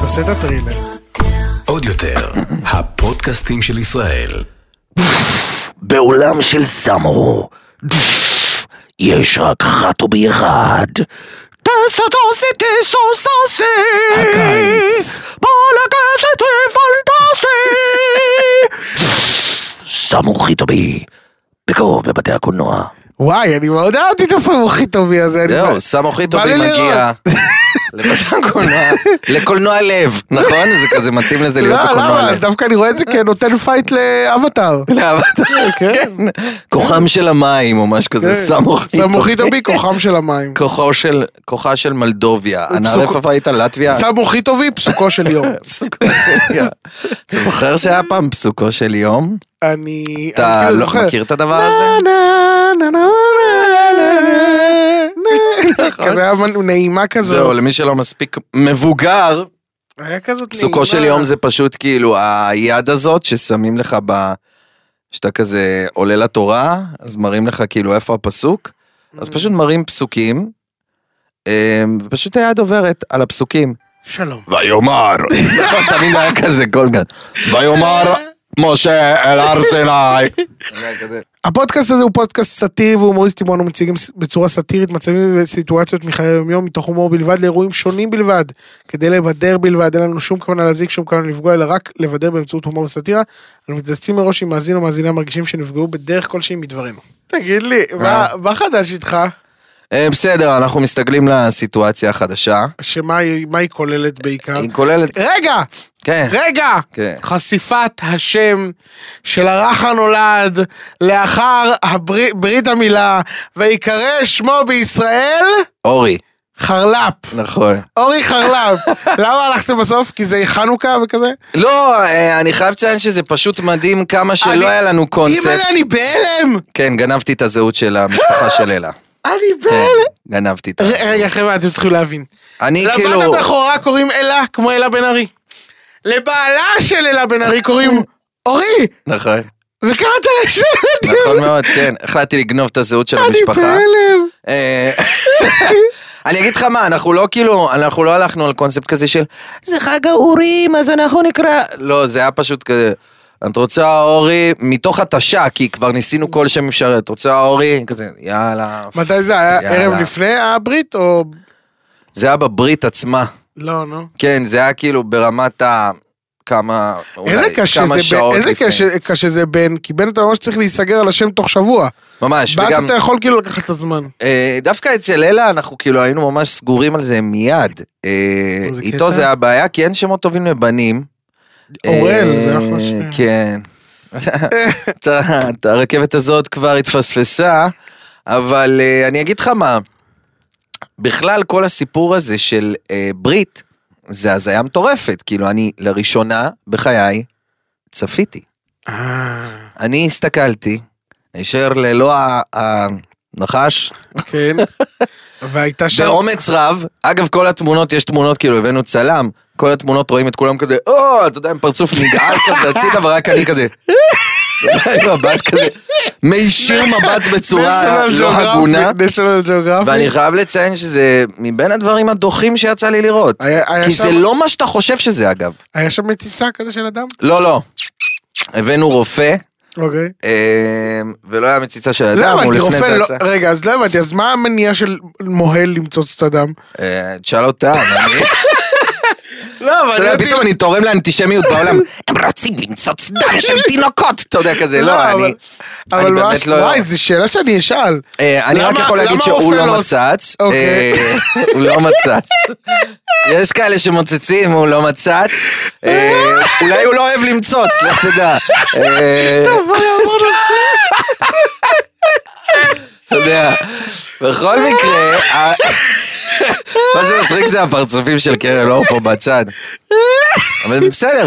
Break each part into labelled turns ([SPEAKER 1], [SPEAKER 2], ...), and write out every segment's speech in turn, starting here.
[SPEAKER 1] תעשה את הטרילר.
[SPEAKER 2] עוד יותר, הפודקאסטים של ישראל.
[SPEAKER 3] בעולם של סאמו, יש רק חטובי אחד. טסטה טסטה טסטה ססה.
[SPEAKER 1] הקיץ.
[SPEAKER 3] בוא לקשת פנטסטי. סאמו חיטובי, בקרוב בבתי הקולנוע.
[SPEAKER 1] וואי, אני מאוד אהבתי את הסמוכי טובי הזה. אני
[SPEAKER 4] זהו,
[SPEAKER 1] כבר-
[SPEAKER 4] סמוכי
[SPEAKER 1] בא
[SPEAKER 4] טובי
[SPEAKER 1] לי
[SPEAKER 4] מגיע.
[SPEAKER 1] לראות.
[SPEAKER 4] לבתי הקולנוע, לקולנוע לב, נכון? זה כזה מתאים לזה להיות
[SPEAKER 1] לא,
[SPEAKER 4] בקולנוע
[SPEAKER 1] למה?
[SPEAKER 4] לב.
[SPEAKER 1] דווקא אני רואה את זה כנותן פייט לאבטאר.
[SPEAKER 4] למה?
[SPEAKER 1] כן.
[SPEAKER 4] כוחם של המים או משהו כזה, סמוכי טובי.
[SPEAKER 1] סמוכי טובי, כן. כוחם של המים.
[SPEAKER 4] כוחו של, כוחה של מולדוביה. הנערף
[SPEAKER 1] פסוק-
[SPEAKER 4] הביתה לטביה.
[SPEAKER 1] סמוכי טובי, פסוקו של יום.
[SPEAKER 4] פסוקו של יום. אתה זוכר שהיה פעם פסוקו של יום?
[SPEAKER 1] אני... אני
[SPEAKER 4] אתה
[SPEAKER 1] כאילו
[SPEAKER 4] לא
[SPEAKER 1] זוכר.
[SPEAKER 4] מכיר את הדבר הזה?
[SPEAKER 1] נה, נה, נה, נה, נה, נה.
[SPEAKER 4] נכון.
[SPEAKER 1] כזה היה מנ- נעימה כזו.
[SPEAKER 4] זהו, למי שלא מספיק מבוגר,
[SPEAKER 1] היה כזאת נעימה.
[SPEAKER 4] פסוקו של יום זה פשוט כאילו היד הזאת ששמים לך ב... שאתה כזה עולה לתורה, אז מראים לך כאילו איפה הפסוק, אז
[SPEAKER 1] Mm.
[SPEAKER 4] פשוט מראים פסוקים, אמ, ופשוט היד עוברת על הפסוקים.
[SPEAKER 1] שלום.
[SPEAKER 4] ויאמר, נכון, תמיד היה כזה כל גן, ויאמר משה אל הר סיני. זה היה כזה.
[SPEAKER 1] הפודקאסט הזה הוא פודקאסט סאטירי והומוריסטי בו אנו מציגים ס- בצורה סאטירית מצבים וסיטואציות מחיי היומיום מתוך הומור בלבד לאירועים שונים בלבד כדי לבדר בלבד אין לנו שום כוונה להזיק שום כוונה לפגוע אלא רק לבדר באמצעות הומור וסאטירה. אנו מתנצלים מראש אם מאזין או מאזינה מרגישים שנפגעו בדרך כלשהי מדברנו. אה. תגיד לי מה- מה חדש איתך
[SPEAKER 4] אה, בסדר, אנחנו מסתגלים לסיטואציה החדשה.
[SPEAKER 1] שמה היא מה היא כוללת בעיקר?
[SPEAKER 4] היא כוללת...
[SPEAKER 1] רגע
[SPEAKER 4] כן.
[SPEAKER 1] רגע
[SPEAKER 4] כן.
[SPEAKER 1] חשיפת השם של הרך הנולד לאחר הברית ברית המילה ויקרא שמו בישראל
[SPEAKER 4] אורי.
[SPEAKER 1] חרל"פ,
[SPEAKER 4] נכון.
[SPEAKER 1] אורי חרל"פ. למה הלכתם בסוף? כי זה חנוכה וכזה?
[SPEAKER 4] לא, אה, אני חייב לציין שזה פשוט מדהים כמה
[SPEAKER 1] אני-
[SPEAKER 4] שלא היה לנו קונספט.
[SPEAKER 1] אימא'לה, אני בהלם!
[SPEAKER 4] כן, גנבתי את הזהות של המשפחה של אלה.
[SPEAKER 1] אני
[SPEAKER 4] כן,
[SPEAKER 1] בהלם!
[SPEAKER 4] גנבתי את
[SPEAKER 1] ר-
[SPEAKER 4] הזהות.
[SPEAKER 1] רגע, חבר'ה, אתם צריכים להבין.
[SPEAKER 4] אני כאילו...
[SPEAKER 1] לבת הבכורה קוראים אלה, כמו אלה בן ארי. לבעלה של אלה בן ארי קוראים אורי!
[SPEAKER 4] נכון,
[SPEAKER 1] וקראת לה שני ילדים!
[SPEAKER 4] נכון מאוד, כן. החלטתי לגנוב את הזהות של
[SPEAKER 1] אני
[SPEAKER 4] המשפחה.
[SPEAKER 1] בהלם!
[SPEAKER 4] אה, אני אגיד לך מה, אנחנו לא כאילו, אנחנו לא הלכנו על קונספט כזה של זה חג האורים, אז אנחנו נקרא... לא, זה היה פשוט כזה, את רוצה אורי, מתוך התשה, כי כבר ניסינו כל שם אפשרי, את רוצה אורי? כזה, יאללה.
[SPEAKER 1] מתי זה היה?
[SPEAKER 4] יאללה.
[SPEAKER 1] ערב לפני הברית או...
[SPEAKER 4] זה היה בברית עצמה.
[SPEAKER 1] לא, נו.
[SPEAKER 4] כן, זה היה כאילו ברמת ה... כמה,
[SPEAKER 1] איזה
[SPEAKER 4] אולי
[SPEAKER 1] קשה
[SPEAKER 4] כמה
[SPEAKER 1] זה בין,
[SPEAKER 4] שעות
[SPEAKER 1] איזה
[SPEAKER 4] לפני.
[SPEAKER 1] קשה- קשה זה בין, כי בין אתה ממש צריך להיסגר על השם תוך שבוע.
[SPEAKER 4] ממש,
[SPEAKER 1] בת
[SPEAKER 4] וגם
[SPEAKER 1] אתה יכול כאילו לקחת את הזמן.
[SPEAKER 4] אה, דווקא אצל אלה אנחנו כאילו היינו ממש סגורים על זה מיד. אה,
[SPEAKER 1] זה
[SPEAKER 4] איתו
[SPEAKER 1] קטע.
[SPEAKER 4] זה הבעיה, כי אין שמות טובים לבנים.
[SPEAKER 1] אוראל, זה
[SPEAKER 4] אה,
[SPEAKER 1] אחלה שם.
[SPEAKER 4] כן. את הרכבת הזאת כבר התפספסה, אבל אה, אני אגיד לך מה, בכלל כל הסיפור הזה של אה, ברית, זה הזיה מטורפת, כאילו אני לראשונה בחיי צפיתי.
[SPEAKER 1] אה,
[SPEAKER 4] אני הסתכלתי, נשאר ללא ה- הנחש,
[SPEAKER 1] כן. והייתה שם...
[SPEAKER 4] באומץ רב, אגב כל התמונות, יש תמונות כאילו הבאנו צלם, כל התמונות רואים את כולם כזה, או, אתה יודע, עם פרצוף נגעל כזה הצידה, ורק אני כזה. עם מבט כזה, מישיר מבט בצורה
[SPEAKER 1] National
[SPEAKER 4] לא
[SPEAKER 1] Geographic,
[SPEAKER 4] הגונה,
[SPEAKER 1] national Geographic.
[SPEAKER 4] ואני חייב לציין שזה מבין הדברים הדוחים שיצא לי לראות.
[SPEAKER 1] היה- היה
[SPEAKER 4] כי
[SPEAKER 1] שם-
[SPEAKER 4] זה לא מה שאתה חושב שזה אגב.
[SPEAKER 1] היה שם מציצה כזה של אדם?
[SPEAKER 4] לא, לא. הבאנו רופא,
[SPEAKER 1] אוקיי.
[SPEAKER 4] אה, ולא היה מציצה של
[SPEAKER 1] לא,
[SPEAKER 4] אדם, הוא
[SPEAKER 1] אבל
[SPEAKER 4] לפני
[SPEAKER 1] רופא
[SPEAKER 4] זה
[SPEAKER 1] לא...
[SPEAKER 4] עשה.
[SPEAKER 1] רגע, אז לא הבנתי, אז מה המניע של מוהל למצוץ את הדם?
[SPEAKER 4] אה, תשאל אותם, אני...
[SPEAKER 1] לא, אבל
[SPEAKER 4] אתה יודע, פתאום אני תורם לאנטישמיות בעולם. הם רוצים למצוץ דם של תינוקות. אתה יודע, כזה, לא, אני...
[SPEAKER 1] אבל
[SPEAKER 4] אני
[SPEAKER 1] מה...
[SPEAKER 4] באמת לא-
[SPEAKER 1] וואי, זו שאלה שאני אשאל.
[SPEAKER 4] אה, אני רק
[SPEAKER 1] למה-
[SPEAKER 4] יכול להגיד
[SPEAKER 1] למה
[SPEAKER 4] שהוא
[SPEAKER 1] הרופא
[SPEAKER 4] לא
[SPEAKER 1] לא-
[SPEAKER 4] מצץ.
[SPEAKER 1] אוקיי.
[SPEAKER 4] אה, הוא לא מצץ. יש כאלה שמוצצים, הוא לא מצץ. אה, אולי הוא לא אוהב למצוץ, לך תדע. אה, אתה יודע, בכל מקרה, ה- מה שמצחיק זה הפרצופים של קרן אור פה בצד. אבל בסדר.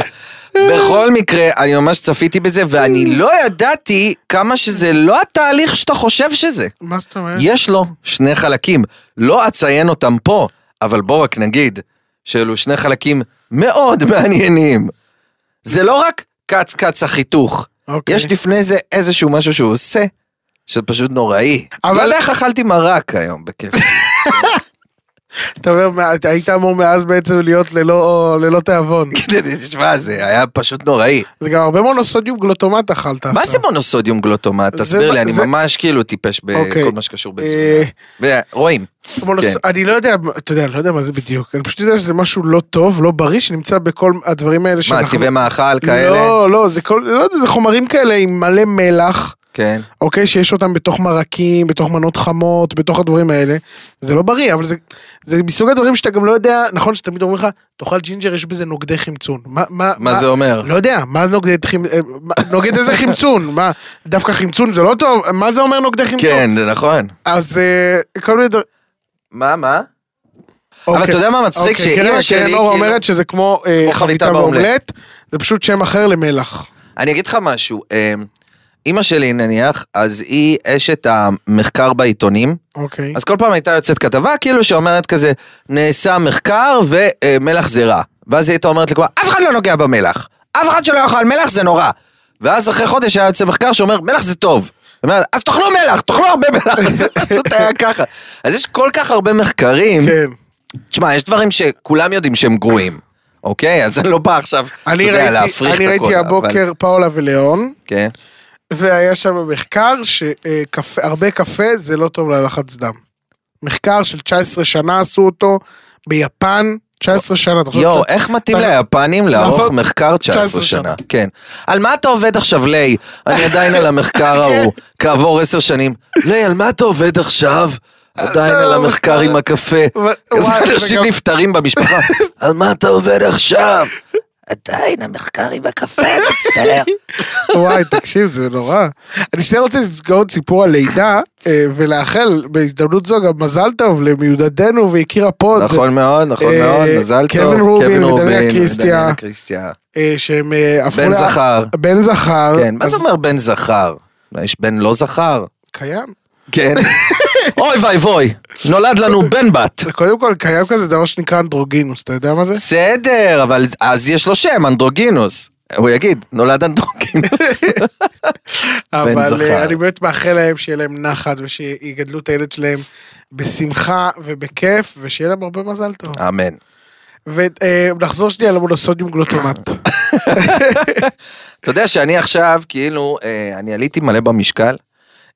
[SPEAKER 4] בכל מקרה, אני ממש צפיתי בזה, ואני לא ידעתי כמה שזה לא התהליך שאתה חושב שזה.
[SPEAKER 1] מה זאת אומרת?
[SPEAKER 4] יש לו שני חלקים, לא אציין אותם פה, אבל בוא רק נגיד שאלו שני חלקים מאוד מעניינים. זה לא רק קץ קץ החיתוך,
[SPEAKER 1] אוקיי.
[SPEAKER 4] יש לפני זה איזשהו משהו שהוא עושה, שזה פשוט נוראי. לא
[SPEAKER 1] אבל-
[SPEAKER 4] אבל איך אכלתי מרק היום בכיף.
[SPEAKER 1] אתה אומר, מה- אתה היית אמור מאז בעצם להיות ללא ללא תיאבון.
[SPEAKER 4] תשמע, זה היה פשוט נוראי.
[SPEAKER 1] זה גם הרבה מונוסודיום גלוטומט אכלת.
[SPEAKER 4] מה
[SPEAKER 1] עכשיו.
[SPEAKER 4] זה מונוסודיום גלוטומט?
[SPEAKER 1] זה
[SPEAKER 4] תסביר
[SPEAKER 1] מה-
[SPEAKER 4] לי, אני
[SPEAKER 1] זה-
[SPEAKER 4] ממש כאילו טיפש
[SPEAKER 1] אוקיי.
[SPEAKER 4] בכל מה שקשור
[SPEAKER 1] אה,
[SPEAKER 4] בזה. רואים.
[SPEAKER 1] מונוס-
[SPEAKER 4] כן.
[SPEAKER 1] אני לא יודע, אתה יודע, אני לא יודע מה זה בדיוק. אני פשוט יודע שזה משהו לא טוב, לא בריא, שנמצא בכל הדברים האלה
[SPEAKER 4] מה, צבעי מאכל כאלה?
[SPEAKER 1] לא, לא, זה כל, לא יודע, זה חומרים כאלה עם מלא מלח,
[SPEAKER 4] כן.
[SPEAKER 1] אוקיי? שיש אותם בתוך מרקים, בתוך מנות חמות, בתוך הדברים האלה. זה לא בריא, אבל זה, זה מסוג הדברים שאתה גם לא יודע, נכון שתמיד אומרים לך, תאכל ג'ינג'ר, יש בזה נוגדי חמצון. מה, מה,
[SPEAKER 4] מה זה אומר?
[SPEAKER 1] לא יודע, מה נוגד חמצון? נוגד איזה חמצון? מה, דווקא חמצון זה לא טוב? מה זה אומר נוגדי חמצון?
[SPEAKER 4] כן, זה נכון.
[SPEAKER 1] אז אה, כל מיני דברים.
[SPEAKER 4] מה, מה? אבל אתה יודע מה מצחיק?
[SPEAKER 1] אוקיי,
[SPEAKER 4] שאימא
[SPEAKER 1] קרן-
[SPEAKER 4] שלי,
[SPEAKER 1] קרן
[SPEAKER 4] כאילו...
[SPEAKER 1] אור אומרת שזה כמו אה,
[SPEAKER 4] כמו
[SPEAKER 1] חביתה
[SPEAKER 4] חביתה
[SPEAKER 1] באומלט,
[SPEAKER 4] באומלט.
[SPEAKER 1] זה פשוט שם אחר למלח.
[SPEAKER 4] אני אגיד לך משהו. אמ, אימא שלי, נניח, אז היא אשת המחקר בעיתונים.
[SPEAKER 1] אוקיי.
[SPEAKER 4] אז כל פעם הייתה יוצאת כתבה כאילו שאומרת כזה, נעשה מחקר ומלח זה רע. ואז היא הייתה אומרת לכולם, אף אחד לא נוגע במלח. אף אחד שלא יאכל מלח זה נורא. ואז אחרי חודש היה יוצא מחקר שאומר, מלח זה טוב. היא אומרת, אז תאכלו מלח, תאכלו הרבה מלח. זה פשוט היה ככה. אז יש כל כך הרבה מחקרים.
[SPEAKER 1] כן.
[SPEAKER 4] תשמע, יש דברים שכולם יודעים שהם גרועים. אוקיי? אז אני לא בא עכשיו, אתה
[SPEAKER 1] אני
[SPEAKER 4] יודע,
[SPEAKER 1] ראיתי,
[SPEAKER 4] להפריך את
[SPEAKER 1] אני
[SPEAKER 4] הכל.
[SPEAKER 1] ראיתי
[SPEAKER 4] אבל-
[SPEAKER 1] הבוקר פאולה ולאון,
[SPEAKER 4] כן.
[SPEAKER 1] והיה שם מחקר שהרבה קפה זה לא טוב ללחץ דם. מחקר של 19 שנה עשו אותו ביפן, 19 שנה. אתה חושב
[SPEAKER 4] יואו,
[SPEAKER 1] ש-
[SPEAKER 4] איך מתאים
[SPEAKER 1] אתה-
[SPEAKER 4] ליפנים לערוך
[SPEAKER 1] לעשות
[SPEAKER 4] מחקר
[SPEAKER 1] 19
[SPEAKER 4] 19
[SPEAKER 1] שנה.
[SPEAKER 4] שנה? כן. על מה אתה עובד עכשיו, ליי? אני עדיין על המחקר ההוא,
[SPEAKER 1] כן.
[SPEAKER 4] כעבור עשר שנים. ליי, על מה אתה עובד עכשיו? עדיין על המחקר עם הקפה.
[SPEAKER 1] ו-
[SPEAKER 4] אה, איזה
[SPEAKER 1] לא, וואי, זה
[SPEAKER 4] אנשים
[SPEAKER 1] גם-
[SPEAKER 4] נפטרים במשפחה. על מה אתה עובד עכשיו?
[SPEAKER 3] עדיין המחקר עם הקפה מצטער.
[SPEAKER 1] וואי, תקשיב, זה נורא. אני שנייה רוצה לסגור את סיפור הלידה, אה, ולאחל בהזדמנות זו גם מזל טוב למיודדנו ויקיר הפוד,
[SPEAKER 4] נכון מאוד, נכון
[SPEAKER 1] אה,
[SPEAKER 4] מאוד, מזל
[SPEAKER 1] קווין
[SPEAKER 4] טוב.
[SPEAKER 1] רובין ודניאל
[SPEAKER 4] ודניאל
[SPEAKER 1] קריסטיה.
[SPEAKER 4] קריסטיה.
[SPEAKER 1] אה, שהם אה, הפכו...
[SPEAKER 4] בן
[SPEAKER 1] לה-
[SPEAKER 4] זכר.
[SPEAKER 1] בן זכר.
[SPEAKER 4] כן, מה
[SPEAKER 1] אה, אז
[SPEAKER 4] זה אומר בן זכר? יש בן לא זכר?
[SPEAKER 1] קיים.
[SPEAKER 4] כן. אוי ואי ואי, נולד לנו בן בת.
[SPEAKER 1] קודם כל, קיים כזה דבר שנקרא אנדרוגינוס, אתה יודע מה זה?
[SPEAKER 4] בסדר, אבל אז יש לו שם, אנדרוגינוס. הוא יגיד, נולד אנדרוגינוס.
[SPEAKER 1] אבל
[SPEAKER 4] זכר.
[SPEAKER 1] אה, אני באמת מאחל להם שיהיה להם נחת ושיגדלו את הילד שלהם בשמחה ובכיף, ושיהיה להם הרבה מזל טוב.
[SPEAKER 4] אמן.
[SPEAKER 1] ונחזור שנייה למונוסודיום גלוטומט.
[SPEAKER 4] אתה יודע שאני עכשיו, כאילו, אה, אני עליתי מלא במשקל.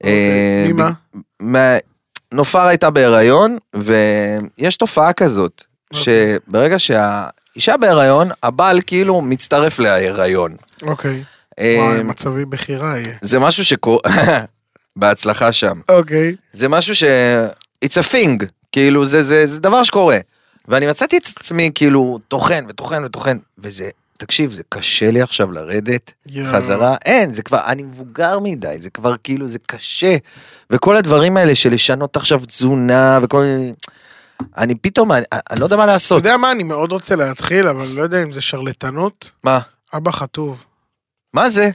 [SPEAKER 4] אה,
[SPEAKER 1] אוקיי, ממה?
[SPEAKER 4] ב- מה- נופר הייתה בהיריון, ויש תופעה כזאת,
[SPEAKER 1] אוקיי.
[SPEAKER 4] שברגע שהאישה בהיריון, הבעל כאילו מצטרף להיריון.
[SPEAKER 1] אוקיי.
[SPEAKER 4] אה,
[SPEAKER 1] וואי, מצבי בכירה יהיה.
[SPEAKER 4] זה משהו שקורה, בהצלחה שם.
[SPEAKER 1] אוקיי.
[SPEAKER 4] זה משהו ש... It's a thing, כאילו זה, זה, זה דבר שקורה. ואני מצאתי את עצמי כאילו טוחן וטוחן וטוחן, וזה, תקשיב, זה קשה לי עכשיו לרדת
[SPEAKER 1] יואו.
[SPEAKER 4] חזרה, אין, זה כבר, אני מבוגר מדי, זה כבר כאילו, זה קשה. וכל הדברים האלה של לשנות עכשיו תזונה וכל מיני... אני פתאום, אני, אני לא יודע מה
[SPEAKER 1] אתה
[SPEAKER 4] לעשות.
[SPEAKER 1] יודע מה, אני מאוד רוצה להתחיל, אבל לא יודע אם זה שרלטנות.
[SPEAKER 4] מה?
[SPEAKER 1] אבא חטוב.
[SPEAKER 4] מה זה?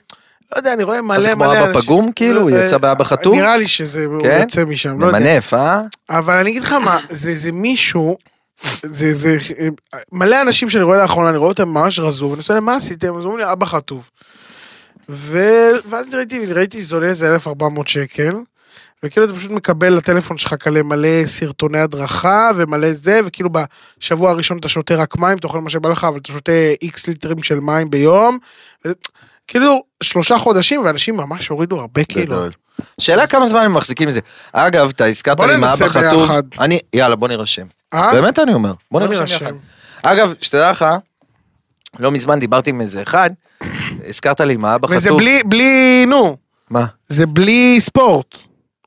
[SPEAKER 1] לא יודע, אני רואה מלא מלא
[SPEAKER 4] מה זה
[SPEAKER 1] אנשים... לא, אה,
[SPEAKER 4] כמו אבא פגום כאילו? הוא יצא באבא חתום?
[SPEAKER 1] נראה לי שזה הוא
[SPEAKER 4] כן?
[SPEAKER 1] יוצא משם, לא יודע.
[SPEAKER 4] ממנף, אה?
[SPEAKER 1] אבל אני אגיד לך מה, זה זה מישהו, זה זה מלא אנשים שאני רואה לאחרונה, אני רואה אותם ממש רזו, ואני עושה להם מה עשיתם? אז אומרים לי אבא חטוב. ו- ואז ראיתי, ראיתי זה עולה איזה 1,400 שקל, וכאילו אתה פשוט מקבל לטלפון שלך כאלה מלא סרטוני הדרכה ומלא זה, וכאילו בשבוע הראשון אתה שותה רק מים, אתה אוכל מה שבא לך, אבל אתה שותה איקס ליטרים של מים ביום. וזה- כאילו שלושה חודשים ואנשים ממש הורידו הרבה כאילו.
[SPEAKER 4] גדול. שאלה כמה זמן הם מחזיקים מזה. אגב, אתה הזכרת
[SPEAKER 1] בוא
[SPEAKER 4] לי מה
[SPEAKER 1] ננסה
[SPEAKER 4] אבא חטוב.
[SPEAKER 1] ביחד.
[SPEAKER 4] אני, יאללה, בוא נירשם.
[SPEAKER 1] אה?
[SPEAKER 4] באמת אני אומר, בוא
[SPEAKER 1] בוא
[SPEAKER 4] נרשם
[SPEAKER 1] נירשם.
[SPEAKER 4] יחד. אגב, שתדע לך, לא מזמן דיברתי עם איזה אחד, הזכרת לי מה אבא חטוב.
[SPEAKER 1] וזה בלי, בלי, נו.
[SPEAKER 4] מה?
[SPEAKER 1] זה בלי ספורט.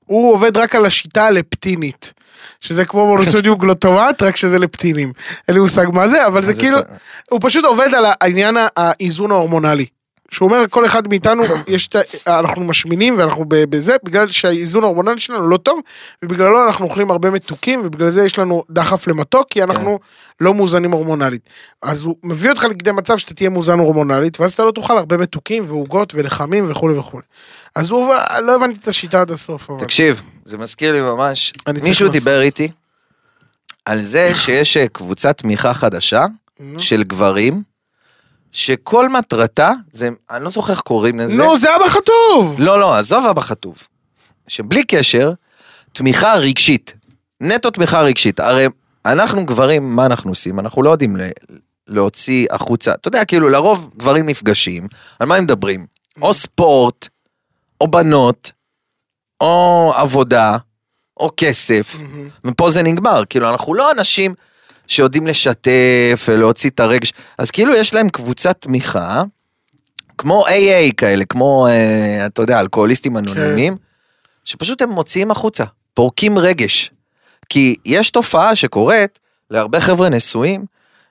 [SPEAKER 1] הוא עובד רק על השיטה הלפטינית. שזה כמו מונוסודיום גלוטומט, רק שזה לפטינים. אין לי מושג מה זה, אבל זה
[SPEAKER 4] זה
[SPEAKER 1] כאילו,
[SPEAKER 4] ס-
[SPEAKER 1] הוא פשוט עובד על העניין האיזון ההורמונלי. שהוא אומר, כל אחד מאיתנו, יש את ה- אנחנו משמינים ואנחנו ב- בזה, בגלל שהאיזון ההורמונלי שלנו לא טוב, ובגללו אנחנו אוכלים הרבה מתוקים, ובגלל זה יש לנו דחף למתוק, כי אנחנו
[SPEAKER 4] כן.
[SPEAKER 1] לא מאוזנים הורמונלית. אז הוא מביא אותך לכדי מצב שאתה תהיה מאוזן הורמונלית, ואז אתה לא תאכל הרבה מתוקים ועוגות ולחמים וכולי וכולי. אז הוא, עובר- לא הבנתי את השיטה עד הסוף, אבל...
[SPEAKER 4] תקשיב, זה מזכיר לי ממש,
[SPEAKER 1] אני צריך
[SPEAKER 4] מישהו
[SPEAKER 1] לעשות.
[SPEAKER 4] דיבר איתי על זה שיש אה, קבוצת תמיכה חדשה של גברים, שכל מטרתה, זה, אני לא זוכר איך קוראים לזה.
[SPEAKER 1] נו, זה אבא חטוב!
[SPEAKER 4] לא, לא, עזוב אבא חטוב. שבלי קשר, תמיכה רגשית. נטו תמיכה רגשית. הרי אנחנו גברים, מה אנחנו עושים? אנחנו לא יודעים ל- להוציא החוצה, אתה יודע, כאילו, לרוב גברים נפגשים, על מה הם מדברים? או ספורט, או בנות, או עבודה, או כסף, ופה זה נגמר, כאילו, אנחנו לא אנשים שיודעים לשתף, להוציא את הרגש, אז כאילו יש להם קבוצת תמיכה, כמו AA כאלה, כמו, אה, אתה יודע, אלכוהוליסטים אנונימיים, שפשוט הם מוציאים החוצה, פורקים רגש. כי יש תופעה שקורית להרבה חבר'ה נשואים,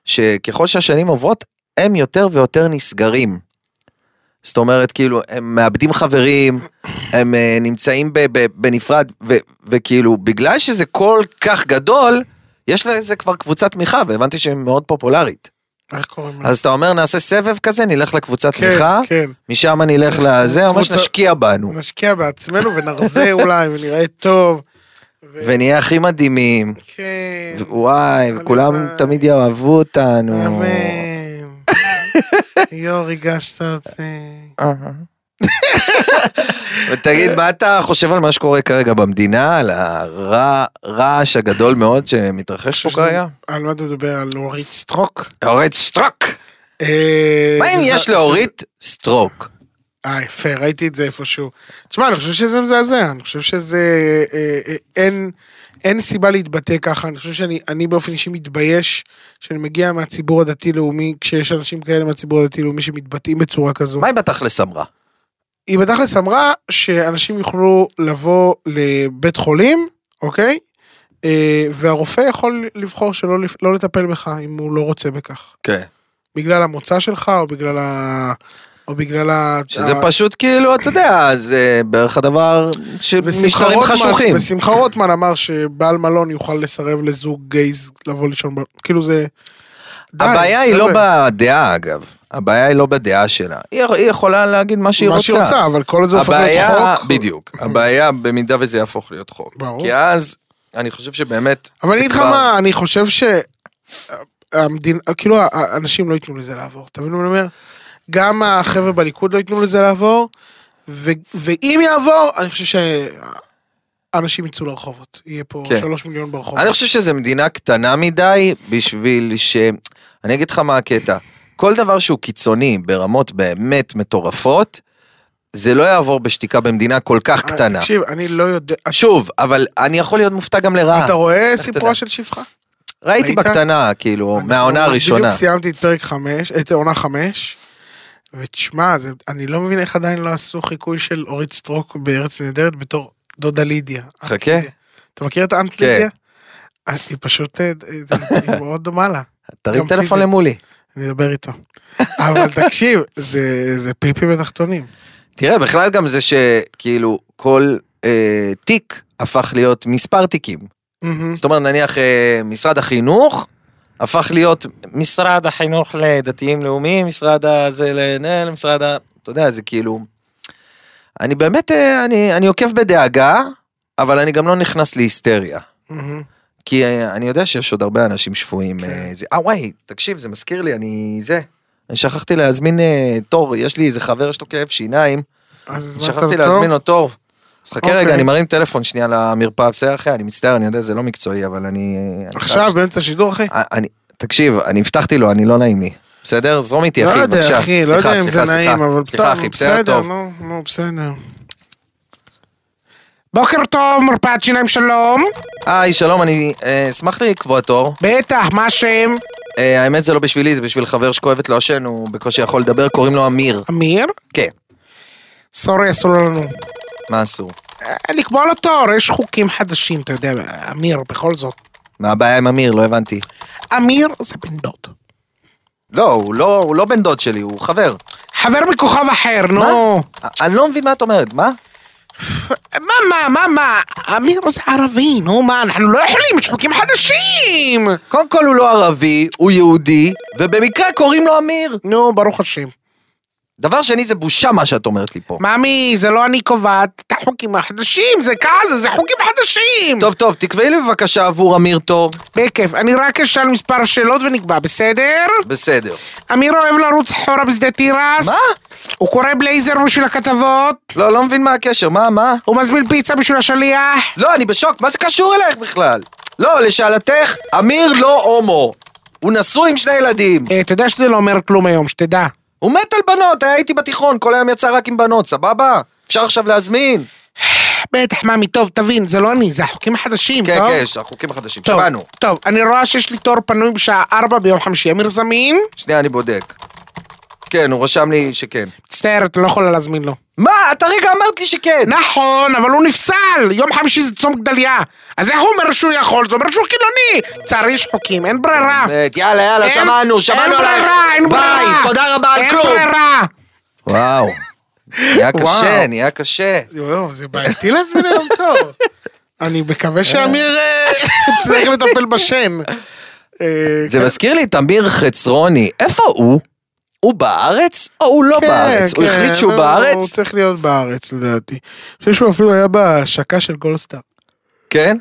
[SPEAKER 4] שככל שהשנים עוברות, הם יותר ויותר נסגרים. זאת אומרת, כאילו, הם מאבדים חברים, הם אה, נמצאים ב- ב- בנפרד, ו- וכאילו, בגלל שזה כל כך גדול, יש לזה כבר קבוצת תמיכה, והבנתי שהיא מאוד פופולרית.
[SPEAKER 1] איך קוראים לה?
[SPEAKER 4] אז אתה אומר, נעשה סבב כזה, נלך לקבוצת
[SPEAKER 1] כן,
[SPEAKER 4] תמיכה,
[SPEAKER 1] כן.
[SPEAKER 4] משם נלך לזה, ממש
[SPEAKER 1] קבוצה-
[SPEAKER 4] נשקיע בנו,
[SPEAKER 1] נשקיע בעצמנו ונרזה אולי ונראה טוב. ו-
[SPEAKER 4] ונהיה הכי מדהימים.
[SPEAKER 1] כן.
[SPEAKER 4] וואי,
[SPEAKER 1] הלוואי.
[SPEAKER 4] וכולם תמיד יאהבו אותנו.
[SPEAKER 1] אמן. יור, ריגשת אותי.
[SPEAKER 4] אהה. ותגיד, מה אתה חושב על מה שקורה כרגע במדינה, על הרעש הגדול מאוד שמתרחש פה כרגע?
[SPEAKER 1] על מה אתה מדבר? על אורית סטרוק?
[SPEAKER 4] אורית סטרוק!
[SPEAKER 1] אה,
[SPEAKER 4] מה אם
[SPEAKER 1] וזה-
[SPEAKER 4] יש לאורית סטרוק?
[SPEAKER 1] אה, יפה, ראיתי את זה איפשהו. תשמע, אני חושב שזה מזעזע, אני חושב שזה... אה, אה, אין, אין סיבה להתבטא ככה, אני חושב שאני אני באופן אישי מתבייש שאני מגיע מהציבור הדתי-לאומי, כשיש אנשים כאלה מהציבור הדתי-לאומי שמתבטאים בצורה כזו.
[SPEAKER 4] מה היא בתכלס אמרה?
[SPEAKER 1] היא בתכלס אמרה שאנשים יוכלו לבוא לבית חולים, אוקיי? אה, והרופא יכול לבחור שלא לפ- לא לטפל בך אם הוא לא רוצה בכך.
[SPEAKER 4] כן.
[SPEAKER 1] בגלל המוצא שלך או בגלל ה... או בגלל ה...
[SPEAKER 4] שזה
[SPEAKER 1] ה-
[SPEAKER 4] פשוט כאילו, אתה יודע, זה בערך הדבר
[SPEAKER 1] ושמחה
[SPEAKER 4] שמשטרים
[SPEAKER 1] רוטמן-
[SPEAKER 4] חשוכים.
[SPEAKER 1] ושמחה רוטמן אמר שבעל מלון יוכל לסרב לזוג גייז לבוא לישון, ב- כאילו זה... די,
[SPEAKER 4] הבעיה היא לא
[SPEAKER 1] חבר'ה.
[SPEAKER 4] בדעה אגב, הבעיה היא לא בדעה שלה, היא היא יכולה להגיד מה שהיא
[SPEAKER 1] מה שהיא
[SPEAKER 4] רוצה.
[SPEAKER 1] רוצה, אבל כל זה הופך להיות
[SPEAKER 4] הבעיה,
[SPEAKER 1] חוק. Mm.
[SPEAKER 4] בדיוק, הבעיה במידה וזה יהפוך להיות חוק.
[SPEAKER 1] ברור.
[SPEAKER 4] כי אז, אני חושב שבאמת,
[SPEAKER 1] אבל
[SPEAKER 4] זה
[SPEAKER 1] אני אגיד לך
[SPEAKER 4] כבר-
[SPEAKER 1] מה, אני חושב ש... המדינה, כאילו האנשים לא ייתנו לזה לעבור, אתה מבין מה אני אומר? גם החבר'ה בליכוד לא ייתנו לזה לעבור, ו- ואם יעבור, אני חושב שאנשים יצאו לרחובות. יהיה פה
[SPEAKER 4] כן.
[SPEAKER 1] שלוש מיליון ברחובות.
[SPEAKER 4] אני חושב שזו מדינה קטנה מדי בשביל ש... אני אגיד לך מה הקטע. כל דבר שהוא קיצוני ברמות באמת מטורפות, זה לא יעבור בשתיקה במדינה כל כך
[SPEAKER 1] אה,
[SPEAKER 4] קטנה.
[SPEAKER 1] תקשיב, אני לא יודע...
[SPEAKER 4] שוב, אבל אני יכול להיות מופתע גם לרעה.
[SPEAKER 1] אתה רואה
[SPEAKER 4] לך
[SPEAKER 1] סיפורה
[SPEAKER 4] תדע.
[SPEAKER 1] של שפחה?
[SPEAKER 4] ראיתי
[SPEAKER 1] ראית?
[SPEAKER 4] בקטנה, כאילו,
[SPEAKER 1] אנחנו
[SPEAKER 4] מהעונה הראשונה.
[SPEAKER 1] בדיוק סיימתי את פרק חמש, את עונה חמש, ותשמע, זה- אני לא מבין איך עדיין לא עשו חיקוי של אורית סטרוק בארץ נהדרת בתור דודה לידיה.
[SPEAKER 4] חכה.
[SPEAKER 1] אנט לידיה. אתה מכיר את האנט
[SPEAKER 4] כן.
[SPEAKER 1] לידיה? אה, היא פשוט, אה, אה, היא מאוד דומה לה,
[SPEAKER 4] תרים
[SPEAKER 1] גם
[SPEAKER 4] טלפון
[SPEAKER 1] פיזית.
[SPEAKER 4] למולי.
[SPEAKER 1] אני אדבר איתו. אבל תקשיב, זה זה פיפי בתחתונים.
[SPEAKER 4] תראה, בכלל גם זה שכאילו כל אה, תיק הפך להיות מספר תיקים.
[SPEAKER 1] מהמם.
[SPEAKER 4] זאת אומרת, נניח אה, משרד החינוך הפך להיות משרד החינוך לדתיים לאומיים, משרד הזה לנהל, משרד ה... אתה יודע, זה כאילו... אני באמת, אה, אני, אני עוקב בדאגה, אבל אני גם לא נכנס להיסטריה.
[SPEAKER 1] מהמם.
[SPEAKER 4] כי אה, אני יודע שיש עוד הרבה אנשים שפויים. אה, זה- אה, וואי, תקשיב, זה מזכיר לי, אני... זה. אני שכחתי להזמין אה, תור, יש לי איזה חבר, יש לו כאב שיניים.
[SPEAKER 1] אז הזמנת
[SPEAKER 4] שכחתי
[SPEAKER 1] אותו?
[SPEAKER 4] להזמין אותו. אז חכה
[SPEAKER 1] אוקיי.
[SPEAKER 4] רגע, אני מרים טלפון שנייה למרפאה, בסדר אחי? אני מצטער, אני יודע, זה לא מקצועי, אבל אני... אה, אני
[SPEAKER 1] עכשיו, באמצע השידור, אחי?
[SPEAKER 4] חייב- אני- תקשיב, אני הבטחתי לו, אני לא נעים לי. בסדר? זרום איתי,
[SPEAKER 1] לא
[SPEAKER 4] אחי,
[SPEAKER 1] יודע,
[SPEAKER 4] בבקשה.
[SPEAKER 1] אחי, לא
[SPEAKER 4] סליחה,
[SPEAKER 1] יודע אם
[SPEAKER 4] סליחה,
[SPEAKER 1] זה
[SPEAKER 4] סליחה.
[SPEAKER 1] נעים, אבל
[SPEAKER 4] סליחה,
[SPEAKER 1] טוב,
[SPEAKER 4] אחי, בסדר, טוב.
[SPEAKER 1] נו, נו, בסדר. בוקר טוב, מרפאת שיניים שלום.
[SPEAKER 4] היי, שלום, אני אה, אשמח לקבוע תור.
[SPEAKER 1] בטח, מה השם?
[SPEAKER 4] אה, האמת זה לא בשבילי, זה בשביל חבר שכואבת לו השן, הוא בקושי יכול לדבר, קוראים לו אמיר.
[SPEAKER 1] אמיר?
[SPEAKER 4] כן,
[SPEAKER 1] סורי, אסור לנו.
[SPEAKER 4] מה אסור?
[SPEAKER 1] אה, לקבוע לו תור, יש חוקים חדשים, אתה יודע, אמיר, בכל זאת.
[SPEAKER 4] מה הבעיה עם אמיר? לא הבנתי.
[SPEAKER 1] אמיר זה בן דוד.
[SPEAKER 4] לא, הוא לא, הוא לא בן דוד שלי, הוא חבר.
[SPEAKER 1] חבר מכוכב אחר, נו.
[SPEAKER 4] אה, אני לא מבין מה את אומרת, מה?
[SPEAKER 1] מה, מה, מה, מה? אמיר זה ערבי, נו, מה, אנחנו לא יכולים, יש חוקים חדשים!
[SPEAKER 4] קודם כל הוא לא ערבי, הוא יהודי, ובמקרה קוראים לו אמיר.
[SPEAKER 1] נו, ברוך השם.
[SPEAKER 4] דבר שני, זה בושה מה שאת אומרת לי פה.
[SPEAKER 1] ממי, זה לא אני קובעת את החוקים החדשים, זה כזה, זה חוקים חדשים!
[SPEAKER 4] טוב, טוב, תקבעי לי בבקשה עבור אמיר תור.
[SPEAKER 1] בכיף, אני רק אשאל מספר שאלות ונקבע, בסדר?
[SPEAKER 4] בסדר.
[SPEAKER 1] אמיר אוהב לרוץ אחורה בשדה תירס.
[SPEAKER 4] מה?
[SPEAKER 1] הוא קורא בלייזר בשביל הכתבות,
[SPEAKER 4] לא, לא מבין מה הקשר, מה, מה?
[SPEAKER 1] הוא מזמין פיצה בשביל השליח.
[SPEAKER 4] לא, אני בשוק, מה זה קשור אלייך בכלל? לא, לשאלתך, אמיר לא הומו. הוא נשוי עם שני ילדים.
[SPEAKER 1] אה, אתה יודע שזה לא אומר כלום היום, שתדע.
[SPEAKER 4] הוא מת על בנות, היה איתי בתיכון, כל היום יצא רק עם בנות, סבבה? אפשר עכשיו להזמין.
[SPEAKER 1] בטח, מאמי, טוב, תבין, זה לא אני, זה החוקים החדשים,
[SPEAKER 4] כן,
[SPEAKER 1] טוב?
[SPEAKER 4] כן, יש את החוקים החדשים,
[SPEAKER 1] טוב,
[SPEAKER 4] שמענו.
[SPEAKER 1] טוב, אני רואה שיש לי תור פנוי בשעה 4 ביום חמישי. אמיר זמין?
[SPEAKER 4] שנייה, אני בודק. כן, הוא רשם לי שכן.
[SPEAKER 1] מצטער, אתה לא יכולה להזמין לו.
[SPEAKER 4] מה? אתה רגע אמרת לי שכן.
[SPEAKER 1] נכון, אבל הוא נפסל! יום חמישי זה צום גדליה. אז איך הוא אומר שהוא יכול? זה אומר שהוא חילוני! לצערי יש חוקים, אין ברירה.
[SPEAKER 4] באמת, יאללה, יאללה,
[SPEAKER 1] אין-
[SPEAKER 4] שמענו, שמענו
[SPEAKER 1] אין
[SPEAKER 4] עלייך.
[SPEAKER 1] ברירה, אין ברירה.
[SPEAKER 4] ביי, תודה רבה על כלום.
[SPEAKER 1] אין ברירה.
[SPEAKER 4] וואו. נהיה
[SPEAKER 1] וואו.
[SPEAKER 4] קשה, נהיה קשה.
[SPEAKER 1] יואו, זה בעייתי להזמין היום תור. אני מקווה שאמיר אה, צריך לטפל בשן. אה,
[SPEAKER 4] זה מזכיר לי את אמיר חצרוני. איפה הוא? הוא בארץ או הוא לא
[SPEAKER 1] כן,
[SPEAKER 4] בארץ? הוא
[SPEAKER 1] כן,
[SPEAKER 4] החליט שהוא
[SPEAKER 1] הוא- הוא
[SPEAKER 4] בארץ?
[SPEAKER 1] צריך להיות בארץ לדעתי. אני חושב שהוא אפילו היה בהשקה של גולדסטאר.
[SPEAKER 4] כן?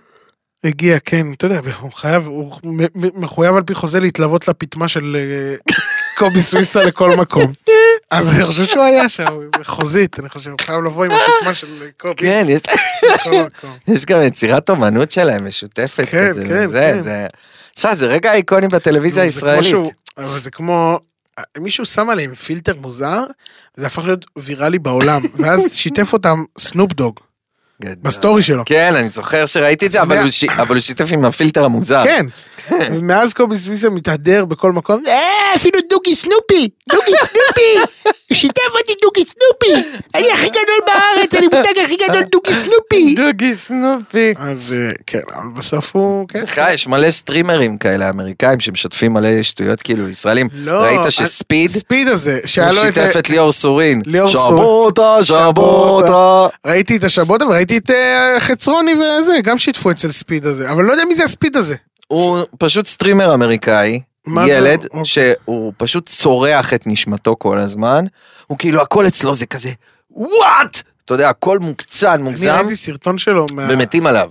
[SPEAKER 1] הגיע, כן, אתה יודע, הוא חייב, הוא מ- מ- מחויב על פי חוזה להתלוות לפיטמה של אה, קובי סוויסה לכל מקום. אז אני חושב שהוא היה שם, חוזית, אני חושב, הוא חייב לבוא עם הפיטמה של קובי
[SPEAKER 4] כן, יש-
[SPEAKER 1] לכל מקום.
[SPEAKER 4] יש גם יצירת אומנות שלהם משותפת.
[SPEAKER 1] כן,
[SPEAKER 4] כזה,
[SPEAKER 1] כן,
[SPEAKER 4] זה-
[SPEAKER 1] כן.
[SPEAKER 4] זה- תשמע, זה רגע איקוני בטלוויזיה
[SPEAKER 1] זה כמו
[SPEAKER 4] הישראלית.
[SPEAKER 1] שהוא- אבל זה כמו, מישהו שם עליהם פילטר מוזר, זה הפך להיות ויראלי בעולם, ואז שיתף אותם סנופ דוג,
[SPEAKER 4] גדול.
[SPEAKER 1] בסטורי שלו.
[SPEAKER 4] כן, אני זוכר שראיתי את זה, אבל
[SPEAKER 1] מה-
[SPEAKER 4] הוא ש- אבל הוא שיתף עם הפילטר המוזר.
[SPEAKER 1] כן. ומאז קובי סוויסה מתהדר בכל מקום, אה, אפילו דוגי סנופי, דוגי סנופי, הוא שיתף אותי דוגי סנופי, אני הכי גדול בארץ, אני מותג הכי גדול דוגי סנופי.
[SPEAKER 4] דוגי סנופי.
[SPEAKER 1] אז אה, כן, אבל בסוף הוא, כן.
[SPEAKER 4] בכלל, יש מלא סטרימרים כאלה אמריקאים שמשתפים מלא שטויות כאילו ישראלים.
[SPEAKER 1] לא,
[SPEAKER 4] ראית
[SPEAKER 1] אני-
[SPEAKER 4] שספיד?
[SPEAKER 1] ספיד הזה, שהיה
[SPEAKER 4] הוא
[SPEAKER 1] לו את...
[SPEAKER 4] שיתף את ליאור סורין.
[SPEAKER 1] ליאור
[SPEAKER 4] שבוטה, שבוטה.
[SPEAKER 1] שבוטה. ראיתי את השבוטה וראיתי את אה, חצרוני וזה, גם שיתפו אצל ספיד הזה, אבל לא יודע מי זה הספיד הזה.
[SPEAKER 4] הוא פשוט סטרימר אמריקאי,
[SPEAKER 1] מה זה?
[SPEAKER 4] ילד,
[SPEAKER 1] אוקיי.
[SPEAKER 4] שהוא פשוט צורח את נשמתו כל הזמן, הוא כאילו הכל אצלו זה כזה, וואט! אתה יודע, הכל מוקצן,
[SPEAKER 1] אני
[SPEAKER 4] מוגזם,
[SPEAKER 1] ראיתי סרטון שלו מה-
[SPEAKER 4] ומתים עליו.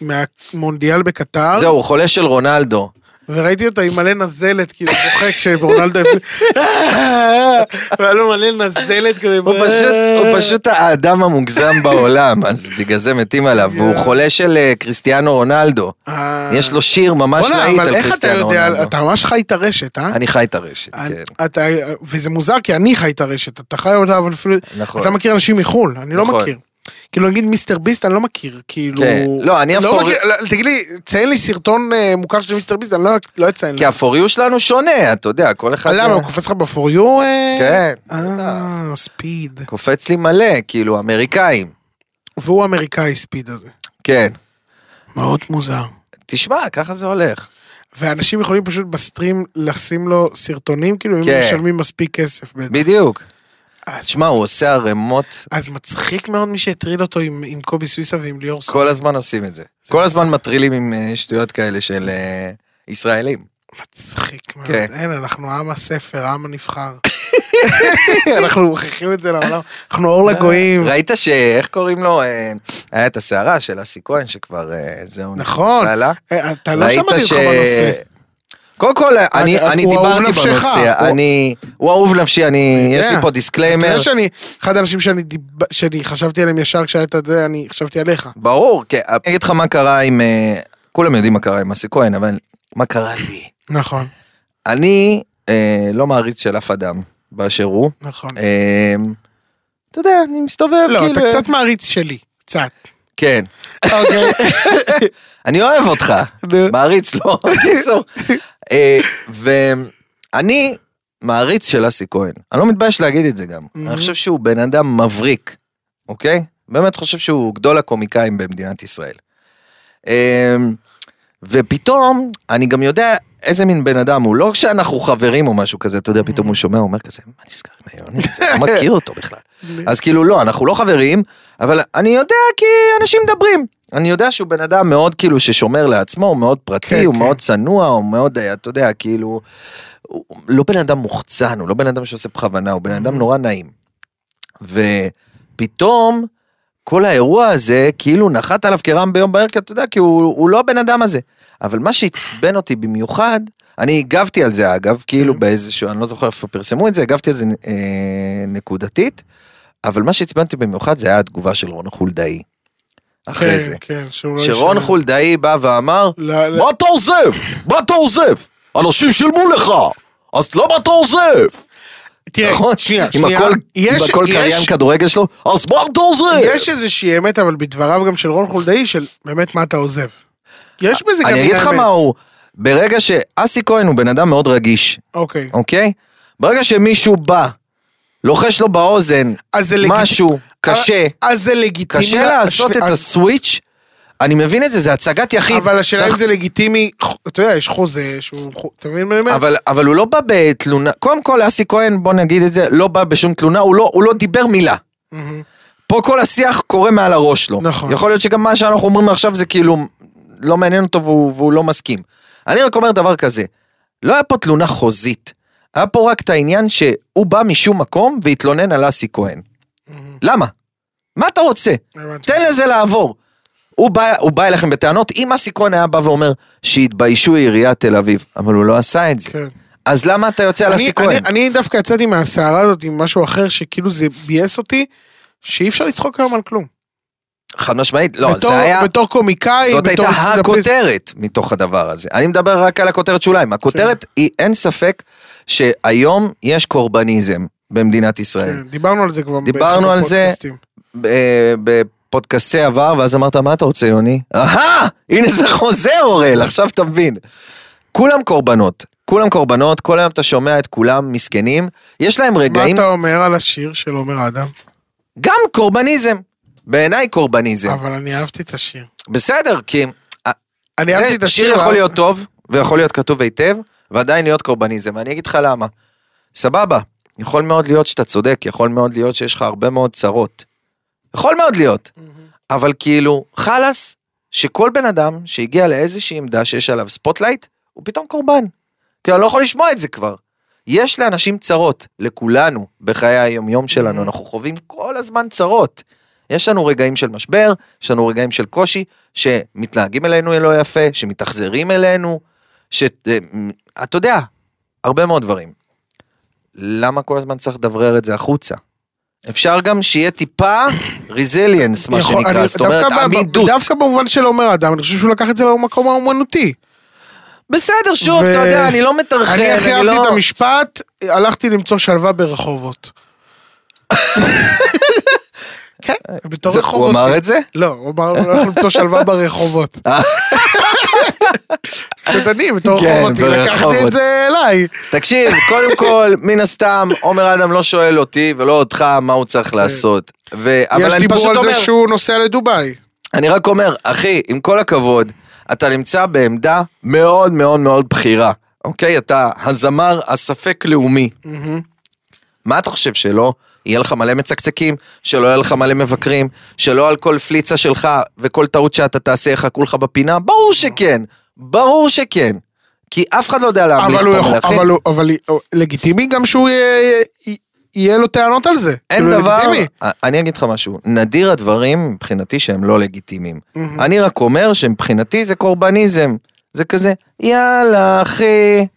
[SPEAKER 1] מהמונדיאל בקטר.
[SPEAKER 4] זהו, הוא חולה של רונלדו.
[SPEAKER 1] וראיתי אותו עם מלא נזלת, כאילו בוחק שברונלדו... והיה לו מלא נזלת כזה. אה.
[SPEAKER 4] הוא פשוט, הוא פשוט האדם המוגזם בעולם, אז בגלל זה מתים עליו, והוא חולה של אה, קריסטיאנו רונלדו.
[SPEAKER 1] אה.
[SPEAKER 4] יש לו שיר ממש
[SPEAKER 1] בוא'נה,
[SPEAKER 4] להיט
[SPEAKER 1] אבל
[SPEAKER 4] על
[SPEAKER 1] איך אתה
[SPEAKER 4] קריסטיאנו
[SPEAKER 1] יודע,
[SPEAKER 4] רונלדו.
[SPEAKER 1] אתה ממש חי את הרשת, אה?
[SPEAKER 4] אני חי את הרשת, כן.
[SPEAKER 1] אתה- אתה, וזה מוזר כי אני חי את הרשת, אתה חי אותה אבל אפילו,
[SPEAKER 4] נכון.
[SPEAKER 1] אתה מכיר אנשים מחול, אני לא
[SPEAKER 4] נכון.
[SPEAKER 1] מכיר. כאילו נגיד מיסטר ביסט אני לא מכיר, כאילו,
[SPEAKER 4] כן. לא, אני אפור-
[SPEAKER 1] מכיר, לא, תגיד לי, ציין לי סרטון אה, מוכר של מיסטר ביסט, אני לא- לא אציין
[SPEAKER 4] כי
[SPEAKER 1] לך.
[SPEAKER 4] הפוריו שלנו שונה, אתה יודע, כל אחד...
[SPEAKER 1] למה, הוא קופץ לך בפוריו?
[SPEAKER 4] כן.
[SPEAKER 1] אה, ספיד.
[SPEAKER 4] קופץ לי מלא, כאילו, אמריקאים.
[SPEAKER 1] והוא אמריקאי ספיד הזה,
[SPEAKER 4] כן.
[SPEAKER 1] מאוד מוזר.
[SPEAKER 4] תשמע, ככה זה הולך.
[SPEAKER 1] ואנשים יכולים פשוט בסטרים לשים לו סרטונים, כאילו, אם
[SPEAKER 4] כן.
[SPEAKER 1] הם משלמים מספיק כסף. בטח.
[SPEAKER 4] בדיוק.
[SPEAKER 1] אז-
[SPEAKER 4] תשמע, הוא עושה ערימות,
[SPEAKER 1] אז מצחיק מאוד מי שהטריד אותו עם עם קובי סוויסה ועם ליאור סוויסה.
[SPEAKER 4] כל הזמן עושים את זה. כל הזמן מטרילים עם אה, שטויות כאלה של אה, ישראלים.
[SPEAKER 1] מצחיק מאוד.
[SPEAKER 4] כן.
[SPEAKER 1] אין, אנחנו עם הספר, העם הנבחר. אנחנו מוכיחים את זה לעולם. אנחנו
[SPEAKER 4] אה,
[SPEAKER 1] אור לגויים.
[SPEAKER 4] ראית ש... איך קוראים לו? אה, היה את הסערה של אסי כהן שכבר... אה, זהו.
[SPEAKER 1] נכון.
[SPEAKER 4] נכנסה לה.
[SPEAKER 1] אה, אתה לא שמעת אותך בנושא.
[SPEAKER 4] קודם כל, אני,
[SPEAKER 1] אה,
[SPEAKER 4] אני
[SPEAKER 1] הוא אהוב
[SPEAKER 4] דיברתי
[SPEAKER 1] נפשך.
[SPEAKER 4] בנושא,
[SPEAKER 1] הוא-
[SPEAKER 4] אני, הוא אהוב נפשי, אני, יש
[SPEAKER 1] יודע.
[SPEAKER 4] לי פה
[SPEAKER 1] אתה
[SPEAKER 4] דיסקליימר,
[SPEAKER 1] יודע שאני, אחד האנשים שאני דיב- שאני חשבתי עליהם ישר כשהיית, אתה יודע, אני חשבתי עליך.
[SPEAKER 4] ברור, כן, אני אגיד לך מה קרה עם, אה, כולם יודעים מה קרה עם אסי כהן, אבל מה קרה לי?
[SPEAKER 1] נכון,
[SPEAKER 4] אני אה, לא מעריץ של אף אדם באשר הוא,
[SPEAKER 1] נכון.
[SPEAKER 4] אה, אתה יודע, אני מסתובב,
[SPEAKER 1] לא,
[SPEAKER 4] כאילו,
[SPEAKER 1] אתה
[SPEAKER 4] אה,
[SPEAKER 1] קצת מעריץ שלי, קצת.
[SPEAKER 4] כן,
[SPEAKER 1] אוקיי.
[SPEAKER 4] אני אוהב אותך,
[SPEAKER 1] נו.
[SPEAKER 4] מעריץ לא, בקיצור. אה, ואני מעריץ של אסי כהן, אני לא מתבייש להגיד את זה גם. אני חושב שהוא בן אדם מבריק, אוקיי? באמת חושב שהוא גדול הקומיקאים במדינת ישראל. אה, ופתאום, אני גם יודע איזה מין בן אדם הוא, לא שאנחנו חברים או משהו כזה, אתה יודע, פתאום הוא שומע, הוא אומר כזה, מה נסגר עם היוני הזה? אני לא מכיר אותו בכלל. אז כאילו לא, אנחנו לא חברים, אבל אני יודע כי אנשים מדברים. אני יודע שהוא בן אדם מאוד כאילו ששומר לעצמו, הוא מאוד פרטי,
[SPEAKER 1] כן,
[SPEAKER 4] הוא
[SPEAKER 1] כן.
[SPEAKER 4] מאוד צנוע, הוא מאוד, אה, אתה יודע, כאילו, הוא לא בן אדם מוחצן, הוא לא בן אדם שעושה בכוונה, הוא בן
[SPEAKER 1] Mm-hmm.
[SPEAKER 4] אדם נורא נעים. ופתאום, כל האירוע הזה כאילו נחת עליו כרעם ביום בהר, כי אתה יודע, כי הוא, הוא לא הבן אדם הזה. אבל מה שעצבן אותי במיוחד, אני הגבתי על זה אגב,
[SPEAKER 1] אוקיי.
[SPEAKER 4] כאילו באיזשהו, אני לא זוכר איפה פרסמו את זה, הגבתי על זה אה, נקודתית, אבל מה שעצבן אותי במיוחד זה היה התגובה של רון חולדאי. אחרי
[SPEAKER 1] כן,
[SPEAKER 4] זה.
[SPEAKER 1] כן, שהוא לא
[SPEAKER 4] שרון נכון,
[SPEAKER 1] ישנה.
[SPEAKER 4] חולדאי בא ואמר,
[SPEAKER 1] לא, לא.
[SPEAKER 4] מה אתה עוזב? מה אתה עוזב? אנשים שילמו לך, אז למה אתה עוזב?
[SPEAKER 1] תראה,
[SPEAKER 4] נכון?
[SPEAKER 1] כן, שנייה,
[SPEAKER 4] עם
[SPEAKER 1] שנייה.
[SPEAKER 4] הכל- עם
[SPEAKER 1] יש-
[SPEAKER 4] הכל
[SPEAKER 1] יש-
[SPEAKER 4] קריין כדורגל שלו, אז מה אתה עוזב?
[SPEAKER 1] יש איזושהי אמת, אבל בדבריו גם של רון חולדאי, של באמת מה אתה עוזב. יש בזה גם...
[SPEAKER 4] אה, אני אגיד
[SPEAKER 1] מן
[SPEAKER 4] לך
[SPEAKER 1] האמת.
[SPEAKER 4] מה הוא, ברגע שאסי כהן הוא בן אדם מאוד רגיש,
[SPEAKER 1] אוקיי.
[SPEAKER 4] אוקיי? ברגע שמישהו בא, לוחש לו באוזן
[SPEAKER 1] אז זה לגיטימי.
[SPEAKER 4] משהו קשה,
[SPEAKER 1] אז זה לגיטימי.
[SPEAKER 4] קשה לעשות
[SPEAKER 1] השני-
[SPEAKER 4] את הסוויץ', אני מבין את זה, זה הצגת יחיד.
[SPEAKER 1] אבל השאלה
[SPEAKER 4] צריך-
[SPEAKER 1] אם זה לגיטימי, אתה יודע, יש חוזה שהוא... חו- אתה מבין מה אני אומר?
[SPEAKER 4] אבל, אבל הוא לא בא בתלונה, קודם כל אסי כהן, בוא נגיד את זה, לא בא בשום תלונה, הוא לא, הוא לא דיבר מילה.
[SPEAKER 1] מהמם.
[SPEAKER 4] פה כל השיח קורה מעל הראש שלו.
[SPEAKER 1] נכון.
[SPEAKER 4] יכול להיות שגם מה שאנחנו אומרים עכשיו זה כאילו לא מעניין אותו והוא, והוא לא מסכים. אני רק אומר דבר כזה, לא היה פה תלונה חוזית, היה פה רק את העניין שהוא בא משום מקום והתלונן על אסי כהן.
[SPEAKER 1] Mm-hmm.
[SPEAKER 4] למה? מה אתה רוצה?
[SPEAKER 1] הבנתי.
[SPEAKER 4] תן לזה לעבור. הוא בא, הוא בא אליכם בטענות, אם אסי כהן היה בא ואומר שהתביישו עיריית תל אביב, אבל הוא לא עשה את זה.
[SPEAKER 1] כן.
[SPEAKER 4] אז למה אתה יוצא על
[SPEAKER 1] אני-
[SPEAKER 4] אסי כהן?
[SPEAKER 1] אני- אני דווקא יצאתי מהסערה הזאת עם משהו אחר, שכאילו זה ביאס אותי, שאי אפשר לצחוק היום על כלום.
[SPEAKER 4] חד משמעית, לא,
[SPEAKER 1] בתור-
[SPEAKER 4] זה היה,
[SPEAKER 1] בתור קומיקאי,
[SPEAKER 4] זאת
[SPEAKER 1] בתור
[SPEAKER 4] הייתה
[SPEAKER 1] סטנדאפיסט.
[SPEAKER 4] הכותרת מתוך הדבר הזה. אני מדבר רק על הכותרת שוליים. הכותרת
[SPEAKER 1] כן.
[SPEAKER 4] היא, אין ספק שהיום יש קורבניזם במדינת ישראל.
[SPEAKER 1] כן, דיברנו על זה כבר.
[SPEAKER 4] דיברנו
[SPEAKER 1] באחד
[SPEAKER 4] על זה.
[SPEAKER 1] הפודקאסטים.
[SPEAKER 4] ב- בפודקאסטי עבר, ואז אמרת, מה אתה רוצה, יוני? אהה! הנה זה חוזר, אוראל, עכשיו אתה מבין. כולם קורבנות. כולם קורבנות, כל היום אתה שומע את כולם מסכנים. יש להם
[SPEAKER 1] מה
[SPEAKER 4] רגעים,
[SPEAKER 1] אתה אומר על השיר של עומר אדם?
[SPEAKER 4] גם קורבניזם. בעיניי קורבניזם.
[SPEAKER 1] אבל אני אהבתי את השיר.
[SPEAKER 4] בסדר, כי...
[SPEAKER 1] אני אהבתי את
[SPEAKER 4] זה
[SPEAKER 1] השיר.
[SPEAKER 4] שיר יכול
[SPEAKER 1] אבל-
[SPEAKER 4] להיות טוב, ויכול להיות כתוב היטב, ועדיין להיות קורבניזם, ואני אגיד לך למה. סבבה, יכול מאוד להיות שאתה צודק, יכול מאוד להיות שיש לך הרבה מאוד צרות. יכול מאוד להיות. אבל כאילו, חלאס, שכל בן אדם שהגיע לאיזושהי עמדה שיש עליו ספוטלייט, הוא פתאום קורבן. כי אני לא יכול לשמוע את זה כבר. יש לאנשים צרות, לכולנו, בחיי היומיום
[SPEAKER 1] Mm-hmm.
[SPEAKER 4] שלנו, אנחנו חווים כל הזמן צרות. יש לנו רגעים של משבר, יש לנו רגעים של קושי, שמתנהגים אלינו לא יפה, שמתאכזרים אלינו, ש... אה, אתה יודע, הרבה מאוד דברים. למה כל הזמן צריך לדברר את זה החוצה? אפשר גם שיהיה טיפה ריזיליאנס, מה
[SPEAKER 1] יכול-
[SPEAKER 4] שנקרא,
[SPEAKER 1] אני-
[SPEAKER 4] זאת אומרת,
[SPEAKER 1] דווקא ב- ב-
[SPEAKER 4] עמידות.
[SPEAKER 1] דווקא במובן של עומר אדם, אני חושב שהוא לקח את זה למקום האומנותי.
[SPEAKER 4] בסדר, שוב,
[SPEAKER 1] ו-
[SPEAKER 4] אתה יודע, אני לא מטרחן,
[SPEAKER 1] אני הכי
[SPEAKER 4] אני
[SPEAKER 1] אהבתי
[SPEAKER 4] לא...
[SPEAKER 1] את המשפט, הלכתי למצוא שלווה ברחובות. כן, בתור
[SPEAKER 4] זה-
[SPEAKER 1] רחובות.
[SPEAKER 4] הוא אמר את זה? אה.
[SPEAKER 1] לא, הוא אמר, הלך למצוא שלווה ברחובות. זאת אני, בתור
[SPEAKER 4] כן,
[SPEAKER 1] רחובות, לקחתי
[SPEAKER 4] ברחובות.
[SPEAKER 1] את זה אליי.
[SPEAKER 4] תקשיב, קודם כל, מן הסתם, עומר אדם לא שואל אותי ולא אותך מה הוא צריך לעשות. ו... אבל
[SPEAKER 1] כן. יש
[SPEAKER 4] אני
[SPEAKER 1] דיבור
[SPEAKER 4] פשוט
[SPEAKER 1] על
[SPEAKER 4] אומר,
[SPEAKER 1] זה שהוא נוסע לדובאי.
[SPEAKER 4] אני רק אומר, אחי, עם כל הכבוד, אתה נמצא בעמדה מאוד מאוד מאוד בכירה, אוקיי? אתה הזמר הספק לאומי. מה אתה חושב שלא? יהיה לך מלא מצקצקים, שלא יהיה לך מלא מבקרים, שלא על כל פליצה שלך וכל טעות שאתה תעשה יחכו לך בפינה? ברור שכן, ברור שכן. כי אף אחד לא יודע להמליך
[SPEAKER 1] אבל הוא
[SPEAKER 4] פה
[SPEAKER 1] יכול,
[SPEAKER 4] מלכים.
[SPEAKER 1] אבל הוא, אבל אה, לגיטימי גם שהוא יהיה- יהיה לו טענות על זה.
[SPEAKER 4] אין
[SPEAKER 1] כאילו,
[SPEAKER 4] דבר, אה,
[SPEAKER 1] לגיטימי.
[SPEAKER 4] אני אגיד לך משהו, נדיר הדברים מבחינתי שהם לא לגיטימיים.
[SPEAKER 1] מהמם.
[SPEAKER 4] אני רק אומר שמבחינתי זה קורבניזם. זה כזה, יאללה אחי. אתה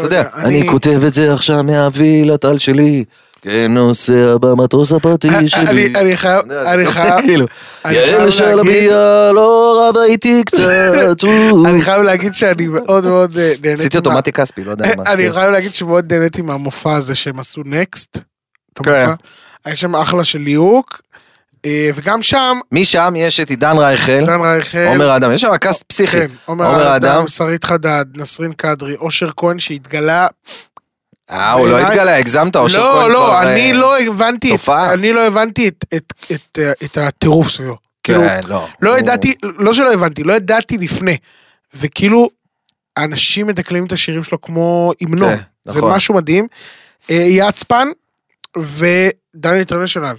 [SPEAKER 1] לא
[SPEAKER 4] יודע, אני כותב את זה עכשיו מהווילת על שלי, כנוסע במטוס הפרטי
[SPEAKER 1] אה, אני-
[SPEAKER 4] שלי.
[SPEAKER 1] אני חייב,
[SPEAKER 4] אתה יודע,
[SPEAKER 1] אני
[SPEAKER 4] זה
[SPEAKER 1] חייב,
[SPEAKER 4] כאילו,
[SPEAKER 1] אני חייב
[SPEAKER 4] יעל
[SPEAKER 1] להגיד-
[SPEAKER 4] שלביה לא רבה איתי קצת. וואו.
[SPEAKER 1] אני חייב להגיד שאני מאוד מאוד אה, נהניתי.
[SPEAKER 4] עשיתי אותו
[SPEAKER 1] מה- אה,
[SPEAKER 4] מתי כספי, לא יודע מה.
[SPEAKER 1] אני חייב להגיד שמאוד נהניתי מהמופע הזה שהם עשו נקסט. את
[SPEAKER 4] כן.
[SPEAKER 1] המופע. היה שם אחלה של ליהוק. אה, וגם שם,
[SPEAKER 4] משם יש את עידן רייכל,
[SPEAKER 1] דן רייכל.
[SPEAKER 4] כן. עומר אדם, יש שם קאסט פסיכי.
[SPEAKER 1] אה, כן, עומר
[SPEAKER 4] עומר
[SPEAKER 1] אדם,
[SPEAKER 4] אדם.
[SPEAKER 1] שרית חדד, נסרין קדרי, אושר כהן שהתגלה
[SPEAKER 4] אה, הוא לא
[SPEAKER 1] בעיניי-
[SPEAKER 4] התגלה, הגזמת, או
[SPEAKER 1] לא, לא,
[SPEAKER 4] אה,
[SPEAKER 1] אני לא הבנתי, את-
[SPEAKER 4] תופעה.
[SPEAKER 1] אני לא הבנתי את- את- את, אה, את הטירוף שלו.
[SPEAKER 4] כן,
[SPEAKER 1] כאילו,
[SPEAKER 4] לא.
[SPEAKER 1] לא
[SPEAKER 4] הוא-
[SPEAKER 1] ידעתי, לא שלא הבנתי, לא ידעתי לפני. וכאילו, אנשים מדקלמים את השירים שלו כמו המנון.
[SPEAKER 4] כן,
[SPEAKER 1] לא, זה
[SPEAKER 4] נכון.
[SPEAKER 1] משהו מדהים. אה, יצפן ודני אינטרנשיונל.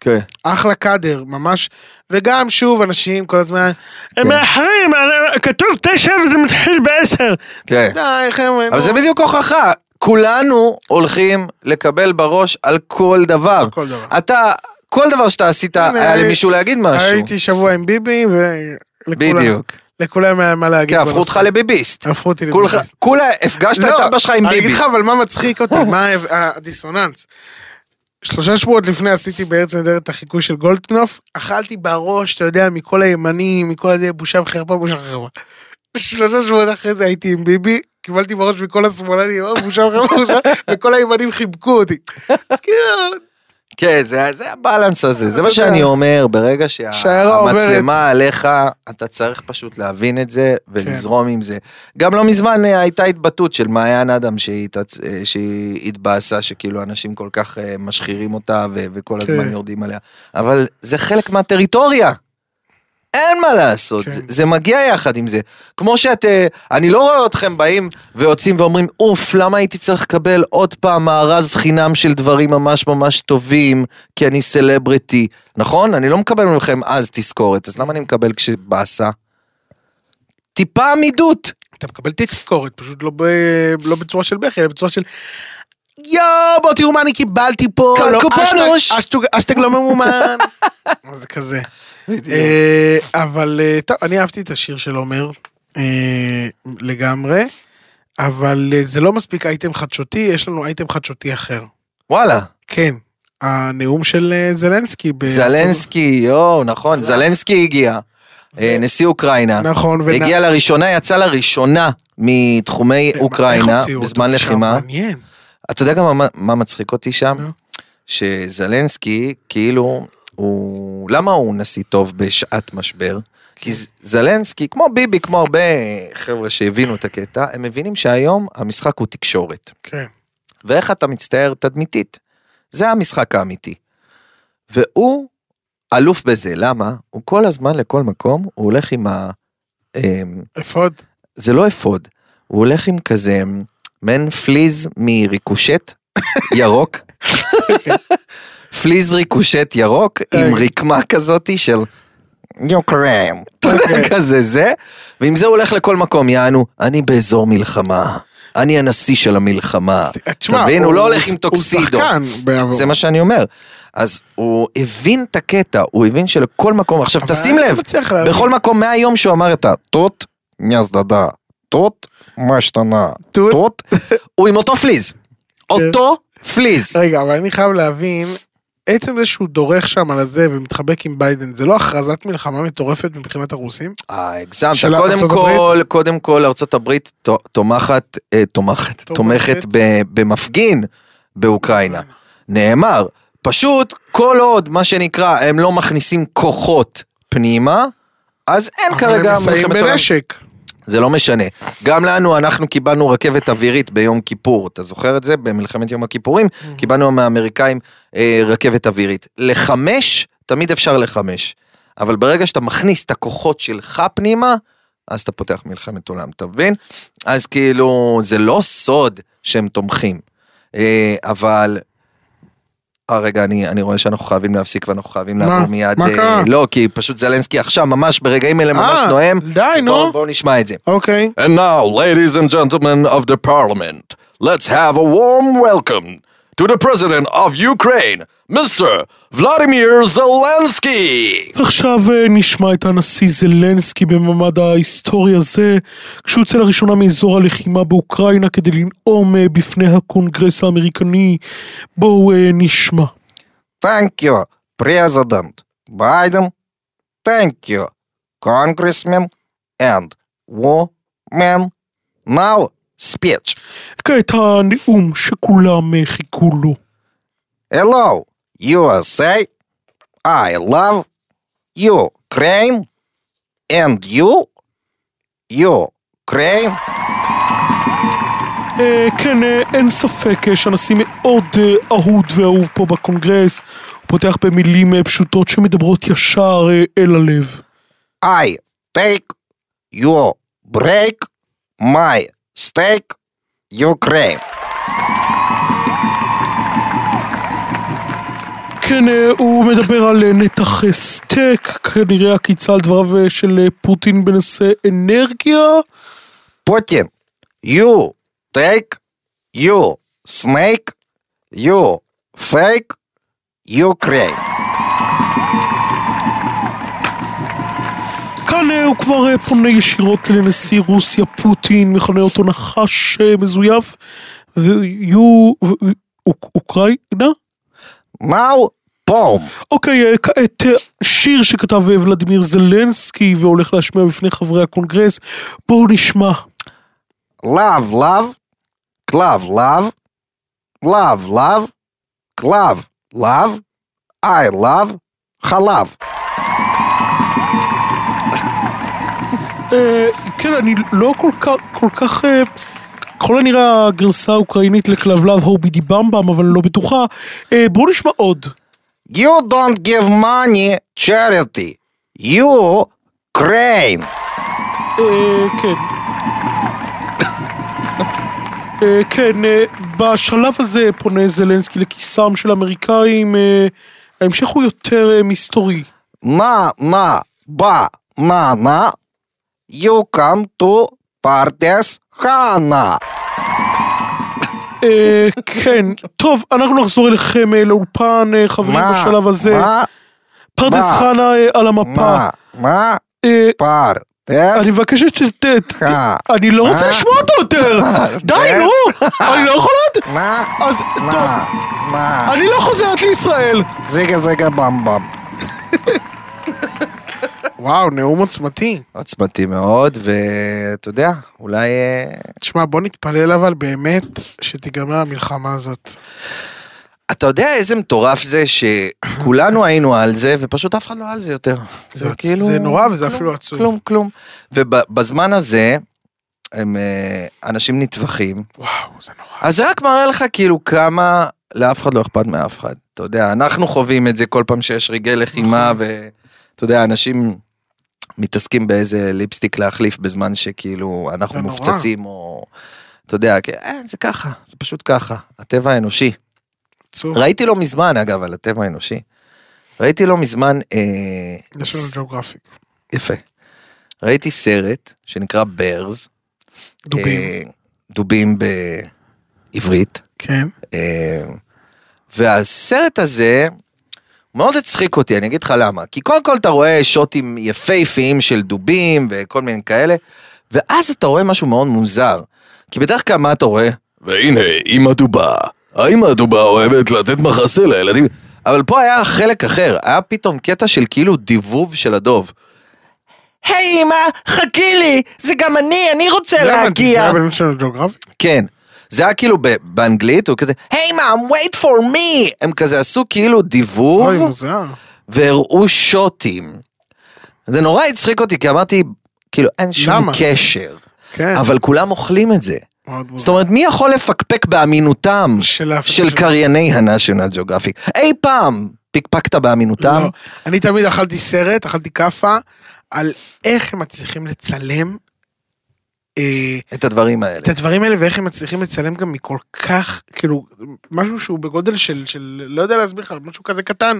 [SPEAKER 4] כן.
[SPEAKER 1] אחלה קאדר, ממש. וגם, שוב, אנשים כל הזמן, הם מאחרים, אה, כתוב תשע וזה מתחיל בעשר.
[SPEAKER 4] כן.
[SPEAKER 1] די, חבר'ה,
[SPEAKER 4] אבל
[SPEAKER 1] נו,
[SPEAKER 4] זה בדיוק הוכחה. כולנו הולכים לקבל בראש על כל דבר.
[SPEAKER 1] כל דבר.
[SPEAKER 4] אתה, כל דבר שאתה עשית,
[SPEAKER 1] הנה,
[SPEAKER 4] היה
[SPEAKER 1] הי-
[SPEAKER 4] למישהו להגיד אה, משהו.
[SPEAKER 1] הייתי שבוע עם ביבי, ולכולם
[SPEAKER 4] בדיוק.
[SPEAKER 1] לכולם היה מה להגיד.
[SPEAKER 4] כן, הפכו אותך
[SPEAKER 1] בנושא.
[SPEAKER 4] לביביסט.
[SPEAKER 1] הפכו אותי
[SPEAKER 4] כולך- כולה הפגשת את אבא שלך עם
[SPEAKER 1] לא, אני
[SPEAKER 4] ביבי.
[SPEAKER 1] אגיד לך אבל מה מצחיק אותי, מה ההב- אה, הדיסוננס. שלושה שבועות לפני עשיתי בארץ נהדרת את החיקוי של גולדקנופ, אכלתי בראש, אתה יודע, מכל הימנים, מכל הזה, בושה וחרפה, בושה וחרפה. שלושה שבועות אחרי זה הייתי עם ביבי, קיבלתי בראש מכל השמאלנים, "אה, בושה וחרפה, בושה, וכל הימנים חיבקו אותי. אז כאילו,
[SPEAKER 4] כן, זה, זה הבלנס הזה, זה מה
[SPEAKER 1] אתה
[SPEAKER 4] שאני
[SPEAKER 1] יודע.
[SPEAKER 4] אומר, ברגע
[SPEAKER 1] שהעיירה
[SPEAKER 4] שהמצלמה עליך, אתה צריך פשוט להבין את זה ולזרום עם זה. גם לא מזמן אה, הייתה התבטאות של מעיין אדם שהיא התעצ- אה, שהיא התבאסה, שכאילו אנשים כל כך אה, משחירים אותה ו- וכל
[SPEAKER 1] כן.
[SPEAKER 4] הזמן יורדים עליה, אבל זה חלק מהטריטוריה. אין מה לעשות,
[SPEAKER 1] כן.
[SPEAKER 4] זה, זה מגיע יחד עם זה. כמו שאת, אה, אני לא רואה אתכם באים ויוצאים ואומרים, אוף, למה הייתי צריך לקבל עוד פעם מארז חינם של דברים ממש ממש טובים, כי אני סלבריטי, נכון? אני לא מקבל מכם אז תזכורת, אז למה אני מקבל כשבאסה? טיפה עמידות.
[SPEAKER 1] אתה מקבל תזכורת, פשוט לא, ב... לא בצורה של בכי, אלא בצורה של... יואו, בואו תראו מה אני קיבלתי פה.
[SPEAKER 4] כאן
[SPEAKER 1] לא,
[SPEAKER 4] קופונוש."
[SPEAKER 1] אשטג- אשטג- אשטג לא ממומן. אז זה כזה. אה, אבל אה, טוב, אני אהבתי את השיר של עומר אה, לגמרי, אבל אה, זה לא מספיק אייטם חדשותי, יש לנו אייטם חדשותי אחר.
[SPEAKER 4] וואלה,
[SPEAKER 1] כן, הנאום של אה, זלנסקי. בארצות-
[SPEAKER 4] זלנסקי, יואו, נכון, זלנסקי הגיע, אה, נשיא אוקראינה.
[SPEAKER 1] נכון, ונ-
[SPEAKER 4] הגיע לראשונה, יצא לראשונה מתחומי
[SPEAKER 1] אה, איך הוציאו
[SPEAKER 4] אוקראינה
[SPEAKER 1] אותו נכון.
[SPEAKER 4] בזמן
[SPEAKER 1] משם?
[SPEAKER 4] לחימה.
[SPEAKER 1] מעניין.
[SPEAKER 4] אתה יודע גם מה- מה מצחיק אותי שם?
[SPEAKER 1] נו.
[SPEAKER 4] שזלנסקי, כאילו, הוא... למה הוא נשיא טוב בשעת משבר? כי ז- זלנסקי, כמו ביבי, כמו הרבה חבר'ה שהבינו את הקטע, הם מבינים שהיום המשחק הוא תקשורת.
[SPEAKER 1] כן.
[SPEAKER 4] ואיך אתה מצטער תדמיתית. זה המשחק האמיתי. והוא אלוף בזה, למה? הוא כל הזמן, לכל מקום, הוא הולך עם ה... אמ,
[SPEAKER 1] אפוד.
[SPEAKER 4] זה לא אפוד, הוא הולך עם כזה אמ, מעין פליז מריקושט ירוק. פליז ריקושט ירוק עם
[SPEAKER 1] אוקיי.
[SPEAKER 4] רקמה כזאתי של יוקרם. אתה
[SPEAKER 1] אוקיי.
[SPEAKER 4] יודע, כזה זה, ועם זה הוא הולך לכל מקום, יענו, אני באזור מלחמה, אני הנשיא של המלחמה.
[SPEAKER 1] תשמע,
[SPEAKER 4] אתה מבין? הוא לא הולך עם טוקסידו.
[SPEAKER 1] הוא שחקן בעבור.
[SPEAKER 4] זה מה שאני אומר. אז הוא הבין את הקטע, הוא הבין שלכל מקום, עכשיו
[SPEAKER 1] אבל
[SPEAKER 4] תשים
[SPEAKER 1] אני לא
[SPEAKER 4] לב,
[SPEAKER 1] מצליח להבין.
[SPEAKER 4] בכל מקום מהיום שהוא אמר את הטוט, מהזדדה, טוט, מה השתנה,
[SPEAKER 1] טוט. כן.
[SPEAKER 4] טוט, הוא עם אותו פליז, אותו פליז.
[SPEAKER 1] רגע, אבל אני חייב להבין, עצם זה שהוא דורך שם על הזה ומתחבק עם ביידן, זה לא הכרזת מלחמה מטורפת מבחינת הרוסים?
[SPEAKER 4] אה, הגזמת,
[SPEAKER 1] של
[SPEAKER 4] קודם
[SPEAKER 1] ארצות
[SPEAKER 4] כל, קודם כל ארצות הברית תו- תומכת, אה, תומכת, תומכת ב- במפגין באוקראינה. נאמר, פשוט כל עוד, מה שנקרא, הם לא מכניסים כוחות פנימה, אז אין
[SPEAKER 1] אבל
[SPEAKER 4] אה, כרגע
[SPEAKER 1] הם מסייעים
[SPEAKER 4] מלחמת עולם.
[SPEAKER 1] בנשק.
[SPEAKER 4] זה לא משנה. גם לנו, אנחנו קיבלנו רכבת אווירית ביום כיפור, אתה זוכר את זה? במלחמת יום הכיפורים,
[SPEAKER 1] Mm.
[SPEAKER 4] קיבלנו מהאמריקאים אה, רכבת אווירית. לחמש, תמיד אפשר לחמש. אבל ברגע שאתה מכניס את הכוחות שלך פנימה, אז אתה פותח מלחמת עולם, אתה מבין? אז כאילו, זה לא סוד שהם תומכים. אה, אבל... אה, רגע, אני, אני רואה שאנחנו חייבים להפסיק ואנחנו חייבים
[SPEAKER 1] מה?
[SPEAKER 4] לעבור מיד...
[SPEAKER 1] מה
[SPEAKER 4] אה,
[SPEAKER 1] קרה?
[SPEAKER 4] לא, כי פשוט זלנסקי עכשיו, ממש ברגעים אלה ממש
[SPEAKER 1] אה,
[SPEAKER 4] נואם.
[SPEAKER 1] די,
[SPEAKER 4] אז
[SPEAKER 1] נו.
[SPEAKER 4] בואו- בואו נשמע את זה.
[SPEAKER 1] אוקיי.
[SPEAKER 5] And now, ladies and gentlemen of the parliament, let's have a warm welcome to the president of Ukraine, Mr. Vladimir Zelensky.
[SPEAKER 1] עכשיו אה, נשמע את הנשיא זלנסקי בממד ההיסטורי הזה, כשהוא יוצא לראשונה מאזור הלחימה באוקראינה כדי לנאום אה, בפני הקונגרס האמריקני. בואו אה, נשמע.
[SPEAKER 4] Thank you, President Biden. Thank you, Congressman and woman. Now, speech.
[SPEAKER 1] כעת הנאום שכולם אה, חיכו לו.
[SPEAKER 4] Hello, USA. I love Ukraine and you. Ukraine.
[SPEAKER 1] אה, כן, אה, אין ספק אה, שהנשיא מאוד אה, אהוד ואהוב פה בקונגרס. הוא פותח במילים אה, פשוטות שמדברות ישר אה, אל הלב.
[SPEAKER 4] I take you break my steak Ukraine.
[SPEAKER 1] כן, אה, הוא מדבר על אה, נתח אה, סטייק, כנראה עקיצה על דבריו אה, של אה, פוטין בנושא אנרגיה.
[SPEAKER 4] Putin, you take, you snake, you fake, Ukraine.
[SPEAKER 1] כאן אה, הוא כבר אה, פונה ישירות לנשיא רוסיה פוטין, מכנה אותו נחש אה, מזויף. ויו... ו- אוק- אוקראינה?
[SPEAKER 4] מהו פום?
[SPEAKER 1] אוקיי, אה, כעת אה, שיר שכתב אה, ולדימיר זלנסקי והולך להשמיע בפני חברי הקונגרס. בואו נשמע.
[SPEAKER 4] לאו לאו, קלב לאו, לאו לאו, קלב לאו, איי לאו, חלב.
[SPEAKER 1] אה, כן, אני לא כל כך, כל כך, אה, ככל הנראה הגרסה האוקראינית לכלבלב הובידי במבם, אבל אני לא בטוחה. אה, בואו נשמע עוד.
[SPEAKER 4] You don't give money charity. You crane.
[SPEAKER 1] אה, כן. אה, כן, אה, בשלב הזה פונה זלנסקי לכיסם של האמריקאים, אה, ההמשך הוא יותר אה, מסתורי.
[SPEAKER 4] Na na ba na na. You come to parties Hana.
[SPEAKER 1] אה, כן, טוב, אנחנו נחזור אליכם אה, לאולפן, אה, חברים,
[SPEAKER 4] Na
[SPEAKER 1] בשלב הזה.
[SPEAKER 4] na
[SPEAKER 1] פרדס
[SPEAKER 4] מה?
[SPEAKER 1] חנה אה, על המפה.
[SPEAKER 4] na na
[SPEAKER 1] אה, אני
[SPEAKER 4] parties.
[SPEAKER 1] מבקשת שת... ת-
[SPEAKER 4] אה.
[SPEAKER 1] אני לא רוצה
[SPEAKER 4] אה.
[SPEAKER 1] לשמוע אותו יותר! די,
[SPEAKER 4] אה.
[SPEAKER 1] נו! אני לא יכולה... עוד.
[SPEAKER 4] Na
[SPEAKER 1] אז טוב,
[SPEAKER 4] na na.
[SPEAKER 1] אני לא חוזרת לישראל!
[SPEAKER 4] זיגה זיגה במ במ.
[SPEAKER 1] וואו, נאום עוצמתי.
[SPEAKER 4] עוצמתי מאוד, ואתה יודע, אולי... אה,
[SPEAKER 1] תשמע, בוא נתפלל אבל באמת שתיגמר המלחמה הזאת.
[SPEAKER 4] אתה יודע איזה מטורף זה שכולנו היינו על זה, ופשוט אף אחד לא על זה יותר.
[SPEAKER 1] זה עצ- זה נורא וזה
[SPEAKER 4] כלום,
[SPEAKER 1] אפילו עצוב.
[SPEAKER 4] כלום, כלום. ובזמן הזה, הם אה, אנשים נטבחים,
[SPEAKER 1] וואו, זה נורא.
[SPEAKER 4] אז זה רק מראה לך כאילו כמה לאף אחד לא אכפת מאף אחד. אתה יודע, אנחנו חווים את זה כל פעם שיש רגעי לחימה,
[SPEAKER 1] נכון.
[SPEAKER 4] ואתה יודע, אנשים מתעסקים באיזה ליפסטיק להחליף בזמן שכאילו אנחנו
[SPEAKER 1] זה נורא.
[SPEAKER 4] מופצצים, או... אתה יודע, כי- אה, זה ככה, זה פשוט ככה, הטבע האנושי.
[SPEAKER 1] עצוב.
[SPEAKER 4] ראיתי לא מזמן, אגב, על הטבע האנושי. ראיתי לא מזמן, אה,
[SPEAKER 1] יש לנו ג'אוגרפיק.
[SPEAKER 4] יפה. ראיתי סרט שנקרא ברז.
[SPEAKER 1] דובים.
[SPEAKER 4] אה, דובים בעברית.
[SPEAKER 1] כן.
[SPEAKER 4] אה, והסרט הזה מאוד הצחיק אותי, אני אגיד לך למה. כי קודם כל אתה רואה שוטים יפהפיים של דובים וכל מיני כאלה, ואז אתה רואה משהו מאוד מוזר. כי בדרך כלל מה אתה רואה?
[SPEAKER 5] והנה, אמא דובה. האמא דובה אוהבת לתת מחסה לילדים.
[SPEAKER 4] אבל פה היה חלק אחר, היה פתאום קטע של כאילו דיבוב של הדוב.
[SPEAKER 3] היי אמא, חכי לי, זה גם אני, אני רוצה
[SPEAKER 1] זה
[SPEAKER 3] להגיע.
[SPEAKER 1] היה באמת שלנו ג'אוגרפיק?
[SPEAKER 4] כן. זה היה כאילו ב- באנגלית, הוא כזה, היי מם, wait for me! הם כזה עשו כאילו דיבוב,
[SPEAKER 1] אוי, מוזר.
[SPEAKER 4] והראו שוטים. זה נורא הצחיק אותי, כי אמרתי, כאילו, אין שום
[SPEAKER 1] למה?
[SPEAKER 4] קשר.
[SPEAKER 1] כן.
[SPEAKER 4] אבל כולם אוכלים את זה.
[SPEAKER 1] מאוד מוזר.
[SPEAKER 4] זאת אומרת, מי יכול לפקפק באמינותם
[SPEAKER 1] של אף אחד
[SPEAKER 4] של
[SPEAKER 1] שלא.
[SPEAKER 4] קרייני הנשיונל ג'וגרפיק? אי פעם פקפקת באמינותם?
[SPEAKER 1] לא. אני תמיד אכלתי סרט, אכלתי כאפה, על איך הם מצליחים לצלם אה,
[SPEAKER 4] את הדברים האלה.
[SPEAKER 1] את הדברים האלה ואיך הם מצליחים לצלם גם מכל כך, כאילו, משהו שהוא בגודל של, של לא יודע להסביר לך, משהו כזה קטן,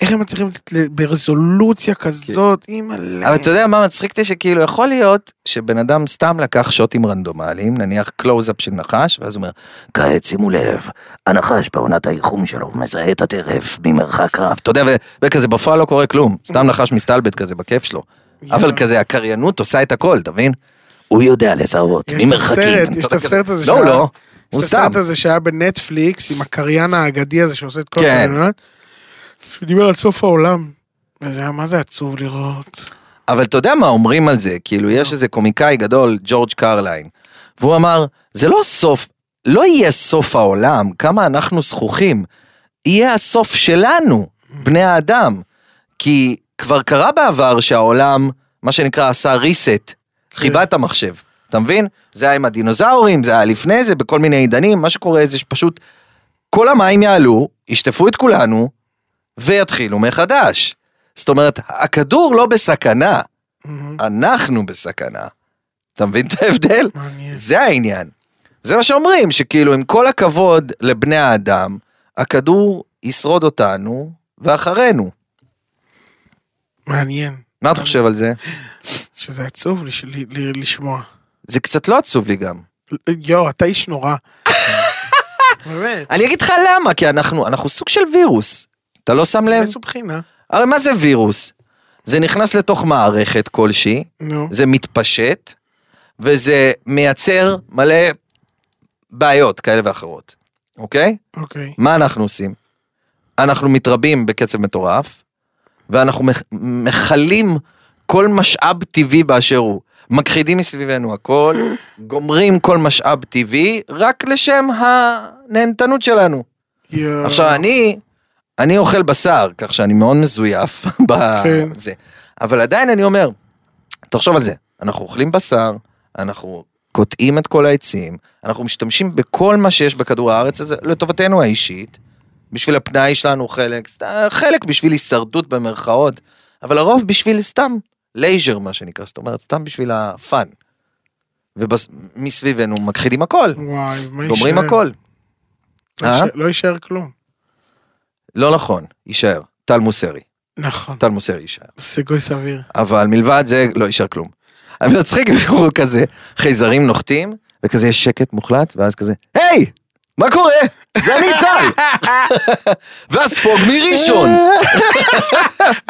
[SPEAKER 1] איך הם מצליחים ל- ברזולוציה כזאת, אימא'לה.
[SPEAKER 4] כן. אבל אתה יודע מה מצחיק אותי? שכאילו יכול להיות שבן אדם סתם לקח שוטים רנדומליים, נניח קלוז-אפ של נחש, ואז הוא אומר,
[SPEAKER 3] כעת שימו לב, הנחש בעונת האיחום שלו מזהה את הטרף ממרחק רב.
[SPEAKER 4] אתה יודע, ו- וכזה בפועל לא קורה כלום, סתם נחש מסתלבט כזה בכיף שלו. אבל כזה הקריינות עושה את הכל, אתה מבין?
[SPEAKER 3] הוא יודע לזהות
[SPEAKER 1] יש את הסרט, יש את
[SPEAKER 4] אתה יודע,
[SPEAKER 1] הסרט הזה
[SPEAKER 4] לא,
[SPEAKER 1] שהיה-
[SPEAKER 4] לא,
[SPEAKER 1] יש
[SPEAKER 4] הוא
[SPEAKER 1] את
[SPEAKER 4] סתם.
[SPEAKER 1] הסרט הזה שהיה בנטפליקס עם הקריין האגדי הזה שעושה את כל
[SPEAKER 4] כן.
[SPEAKER 1] הקריינויות, שדיבר על סוף העולם. וזה היה מה זה עצוב לראות.
[SPEAKER 4] אבל אתה יודע מה אומרים על זה, כאילו יש איזה קומיקאי גדול, ג'ורג' קרליין, והוא אמר, זה לא סוף, לא יהיה סוף העולם, כמה אנחנו זכוכים, יהיה הסוף שלנו, בני האדם. כי כבר קרה בעבר שהעולם, מה שנקרא, עשה reset, חיבה את המחשב, אתה מבין? זה היה עם הדינוזאורים, זה היה לפני זה, בכל מיני עידנים, מה שקורה זה שפשוט כל המים יעלו, ישטפו את כולנו, ויתחילו מחדש. זאת אומרת, הכדור לא בסכנה,
[SPEAKER 1] מהמם.
[SPEAKER 4] אנחנו בסכנה. אתה מבין את ההבדל?
[SPEAKER 1] מעניין.
[SPEAKER 4] זה העניין. זה מה שאומרים, שכאילו עם כל הכבוד לבני האדם, הכדור ישרוד אותנו ואחרינו.
[SPEAKER 1] מעניין.
[SPEAKER 4] מה אתה חושב על זה?
[SPEAKER 1] שזה עצוב לש- ל- ל- לשמוע.
[SPEAKER 4] זה קצת לא עצוב לי גם.
[SPEAKER 1] יואו, אתה איש נורא. באמת.
[SPEAKER 4] אני אגיד לך למה, כי אנחנו, אנחנו סוג של וירוס. אתה לא שם לב?
[SPEAKER 1] איזו בחינה.
[SPEAKER 4] הרי מה זה וירוס? זה נכנס לתוך מערכת כלשהי,
[SPEAKER 1] נו.
[SPEAKER 4] זה מתפשט, וזה מייצר מלא בעיות כאלה ואחרות, אוקיי?
[SPEAKER 1] אוקיי.
[SPEAKER 4] מה אנחנו עושים? אנחנו מתרבים בקצב מטורף, ואנחנו מח- מכלים כל משאב טבעי באשר הוא. מכחידים מסביבנו הכל, גומרים כל משאב טבעי, רק לשם הנהנתנות שלנו.
[SPEAKER 1] יואו.
[SPEAKER 4] עכשיו אני, אני אוכל בשר, כך שאני מאוד מזויף
[SPEAKER 1] כן.
[SPEAKER 4] בזה. אבל עדיין אני אומר, תחשוב על זה, אנחנו אוכלים בשר, אנחנו קוטעים את כל העצים, אנחנו משתמשים בכל מה שיש בכדור הארץ הזה לטובתנו האישית, בשביל הפנאי שלנו חלק, סת- חלק בשביל הישרדות במרכאות, אבל הרוב בשביל סתם לייז'ר מה שנקרא, זאת אומרת סתם בשביל הפאן. ומסביבנו מכחידים הכל,
[SPEAKER 1] וואי, מה יישאר?
[SPEAKER 4] גומרים הכל.
[SPEAKER 1] לא
[SPEAKER 4] אה?
[SPEAKER 1] יישאר- לא יישאר כלום.
[SPEAKER 4] לא נכון, יישאר, טל מוסרי.
[SPEAKER 1] נכון,
[SPEAKER 4] טל מוסרי יישאר.
[SPEAKER 1] סיכוי סביר.
[SPEAKER 4] אבל מלבד זה לא יישאר כלום. אבל מצחיק הוא כזה, חייזרים נוחתים, וכזה יש שקט מוחלט, ואז כזה, היי! מה קורה? זה אני טל! והספוג מראשון!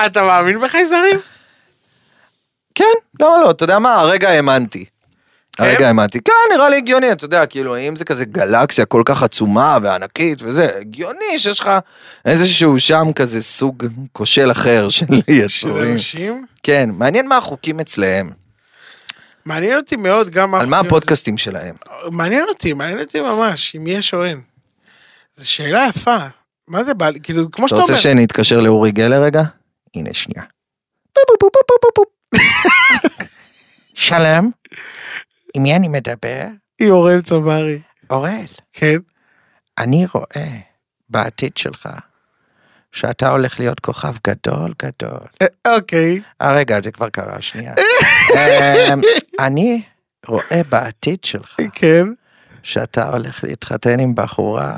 [SPEAKER 1] אתה מאמין בחייזרים?
[SPEAKER 4] כן, למה לא? אתה יודע מה? הרגע האמנתי. הרגע האמנתי. כן, נראה לי הגיוני, אתה יודע, כאילו, אם זה כזה גלקסיה כל כך עצומה וענקית וזה, הגיוני שיש לך איזשהו שם כזה סוג כושל אחר של
[SPEAKER 1] של
[SPEAKER 4] יצורים.
[SPEAKER 1] אנשים?
[SPEAKER 4] כן, מעניין מה החוקים אצלהם.
[SPEAKER 1] מעניין אותי מאוד גם
[SPEAKER 4] על מה
[SPEAKER 1] החוקרים-
[SPEAKER 4] הפודקאסטים שלהם?
[SPEAKER 1] מעניין אותי, מעניין אותי ממש, אם יש או אין. זו שאלה יפה. מה זה בא, לי? כאילו, כמו
[SPEAKER 4] אתה
[SPEAKER 1] שאתה אומר.
[SPEAKER 4] רוצה שאני אתקשר לאורי גלר רגע? הנה שנייה. פו, פו, פו, פו, פו, פו, פו. שלום, עם מי אני מדבר?
[SPEAKER 1] היא אורל צברי.
[SPEAKER 4] אוראל,
[SPEAKER 1] כן.
[SPEAKER 4] אני רואה בעתיד שלך שאתה הולך להיות כוכב גדול גדול.
[SPEAKER 1] אה, אוקיי.
[SPEAKER 4] אה רגע, זה כבר קרה, שנייה. אמ, אני רואה בעתיד שלך
[SPEAKER 1] כן.
[SPEAKER 4] שאתה הולך להתחתן עם בחורה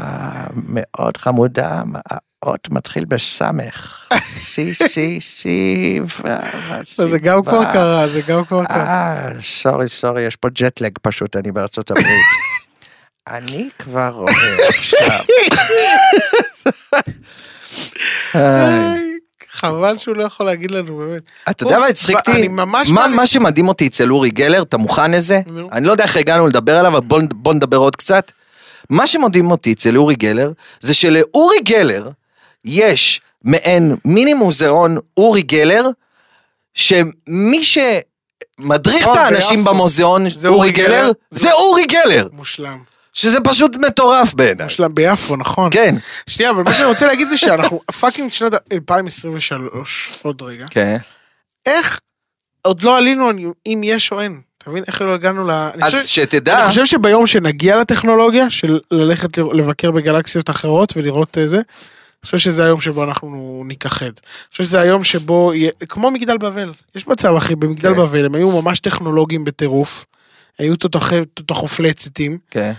[SPEAKER 4] מאוד חמודה, האות מתחיל בסמך. סי סי סי ו...
[SPEAKER 1] זה גם כבר קרה, זה גם כבר קרה.
[SPEAKER 4] אה, סורי סורי, יש פה ג'טלג פשוט, אני בארצות הברית. אני כבר רואה עכשיו. איי.
[SPEAKER 1] איי, חבל שהוא לא יכול להגיד לנו באמת.
[SPEAKER 4] אתה יודע מה הצחיק אותי?
[SPEAKER 1] אני ממש
[SPEAKER 4] מה-
[SPEAKER 1] מעריך-
[SPEAKER 4] מה שמדהים אותי אצל אורי גלר, אתה מוכן לזה?
[SPEAKER 1] נו.
[SPEAKER 4] אני לא יודע איך הגענו לדבר עליו, אבל בוא- בוא נדבר עוד קצת. מה שמדהים אותי אצל אורי גלר, זה שלאורי גלר יש מעין מיני מוזיאון אורי גלר, שמי שמדריך את
[SPEAKER 1] נכון,
[SPEAKER 4] האנשים
[SPEAKER 1] ביפו.
[SPEAKER 4] במוזיאון,
[SPEAKER 1] זה
[SPEAKER 4] אורי
[SPEAKER 1] אורי
[SPEAKER 4] גלר,
[SPEAKER 1] גלר?
[SPEAKER 4] זה אורי גלר,
[SPEAKER 1] מושלם.
[SPEAKER 4] שזה פשוט מטורף בעיניי.
[SPEAKER 1] מושלם ביפו, נכון?
[SPEAKER 4] כן.
[SPEAKER 1] שנייה, אבל מה שאני רוצה להגיד זה שאנחנו פאקינג שנת 2023, עוד רגע.
[SPEAKER 4] כן.
[SPEAKER 1] איך עוד לא עלינו על אם יש או אין. אתה מבין איך לא הגענו ל... אני
[SPEAKER 4] אז
[SPEAKER 1] חושב-
[SPEAKER 4] שתדע,
[SPEAKER 1] אני חושב שביום שנגיע לטכנולוגיה של ללכת ל- לבקר בגלקסיות אחרות ולראות אה, זה, אני חושב שזה היום שבו אנחנו ניכחד. אני חושב שזה היום שבו, יהיה- כמו מגדל בבל, יש מצב אחי, במגדל
[SPEAKER 4] כן.
[SPEAKER 1] בבל הם היו ממש טכנולוגיים בטירוף, היו תותחי- תותחופלצטים.
[SPEAKER 4] כן.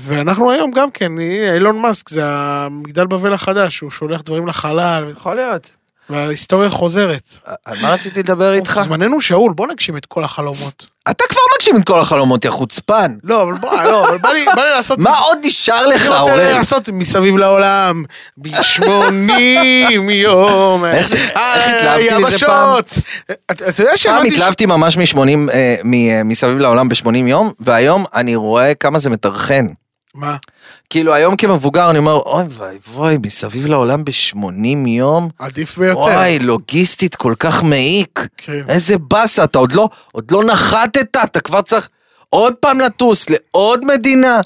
[SPEAKER 1] ואנחנו היום גם כן, הנה, אילון מאסק זה המגדל בבל החדש, הוא שולח דברים לחלל,
[SPEAKER 4] יכול להיות.
[SPEAKER 1] וההיסטוריה חוזרת.
[SPEAKER 4] על מה רציתי לדבר איתך?
[SPEAKER 1] זמננו שאול, בוא נגשים את כל החלומות.
[SPEAKER 4] אתה כבר מגשים את כל החלומות, יא חוצפן.
[SPEAKER 1] לא, אבל בוא, לא, אבל בא לי- בא לי לעשות...
[SPEAKER 4] מה עוד נשאר
[SPEAKER 1] אני
[SPEAKER 4] לך,
[SPEAKER 1] רוצה
[SPEAKER 4] אורל?
[SPEAKER 1] לעשות מסביב לעולם, בשמונים יום,
[SPEAKER 4] איך זה-
[SPEAKER 1] על
[SPEAKER 4] איך התלהבתי מזה
[SPEAKER 1] היבשות. אתה אתה יודע
[SPEAKER 4] פעם
[SPEAKER 1] שהבנתי ש-
[SPEAKER 4] התלהבתי ממש מ-80, אה, מ- אה, מסביב לעולם ב-80 יום, והיום אני רואה כמה זה מטרחן.
[SPEAKER 1] מה?
[SPEAKER 4] כאילו היום כמבוגר אני אומר, אוי ואי ווי, מסביב לעולם ב-80 יום?
[SPEAKER 1] עדיף ביותר.
[SPEAKER 4] וואי, לוגיסטית כל כך מעיק.
[SPEAKER 1] כן.
[SPEAKER 4] איזה באסה, אתה עוד לא, עוד לא נחתת, אתה כבר צריך עוד פעם לטוס לעוד מדינה.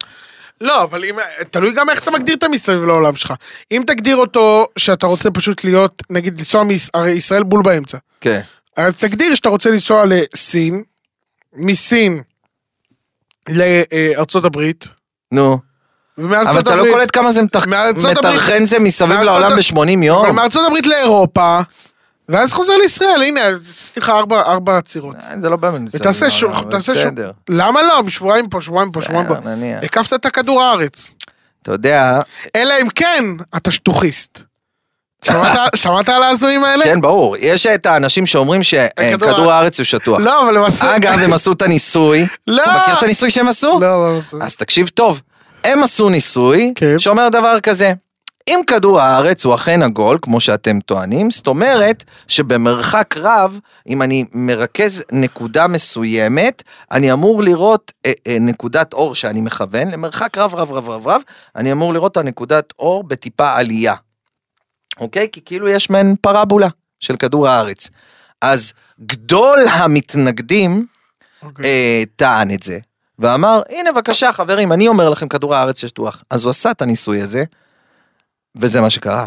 [SPEAKER 1] לא, אבל אם, תלוי גם איך אתה מגדיר את המסביב לעולם שלך. אם תגדיר אותו שאתה רוצה פשוט להיות, נגיד לנסוע, מיש- הרי ישראל בול באמצע.
[SPEAKER 4] כן.
[SPEAKER 1] אז תגדיר שאתה רוצה לנסוע לסין, מסין לארצות הברית,
[SPEAKER 4] נו.
[SPEAKER 1] ומארצות
[SPEAKER 4] אבל
[SPEAKER 1] הברית...
[SPEAKER 4] אתה לא קולט כמה זה מטרח-
[SPEAKER 1] מארצות הברית-
[SPEAKER 4] מטרחן זה מסביב
[SPEAKER 1] מארצות
[SPEAKER 4] לעולם
[SPEAKER 1] ה-
[SPEAKER 4] ב-80
[SPEAKER 1] אבל
[SPEAKER 4] יום.
[SPEAKER 1] מארצות הברית לאירופה, ואז חוזר לישראל, הנה, עשיתי לך ארבע, ארבע עצירות.
[SPEAKER 4] אה, זה לא באמת מסביב
[SPEAKER 1] ותעשה
[SPEAKER 4] לעולם,
[SPEAKER 1] שוב,
[SPEAKER 4] אבל
[SPEAKER 1] תעשה שוב.
[SPEAKER 4] בסדר.
[SPEAKER 1] למה לא? שבועיים פה, שבועיים פה, שבועיים פה.
[SPEAKER 4] אה, נניח.
[SPEAKER 1] הקפת את הכדור הארץ.
[SPEAKER 4] אתה יודע,
[SPEAKER 1] אלא אם כן, אתה שטוחיסט. שמעת- שמעת על ההזויים האלה?
[SPEAKER 4] כן ברור, יש את האנשים שאומרים
[SPEAKER 1] הכדור
[SPEAKER 4] שכדור
[SPEAKER 1] ה-
[SPEAKER 4] הארץ הוא שטוח.
[SPEAKER 1] לא, אבל למעשה...
[SPEAKER 4] אגב, הם עשו את הניסוי.
[SPEAKER 1] לא.
[SPEAKER 4] אתה מכיר את הניסוי שהם עשו?
[SPEAKER 1] לא, אבל למעשה...
[SPEAKER 4] אז תקשיב טוב, הם עשו ניסוי
[SPEAKER 1] כן.
[SPEAKER 4] שאומר דבר כזה. אם כדור הארץ הוא אכן עגול, כמו שאתם טוענים, זאת אומרת שבמרחק רב, אם אני מרכז נקודה מסוימת, אני אמור לראות אה, אה, נקודת אור שאני מכוון, למרחק רב רב רב רב רב, אני אמור לראות את הנקודת אור בטיפה עלייה. אוקיי? כי כאילו יש מעין פרבולה של כדור הארץ. אז גדול המתנגדים אה, טען את זה, ואמר, הנה בבקשה חברים, אני אומר לכם כדור הארץ שטוח. אז הוא עשה את הניסוי הזה, וזה מה שקרה.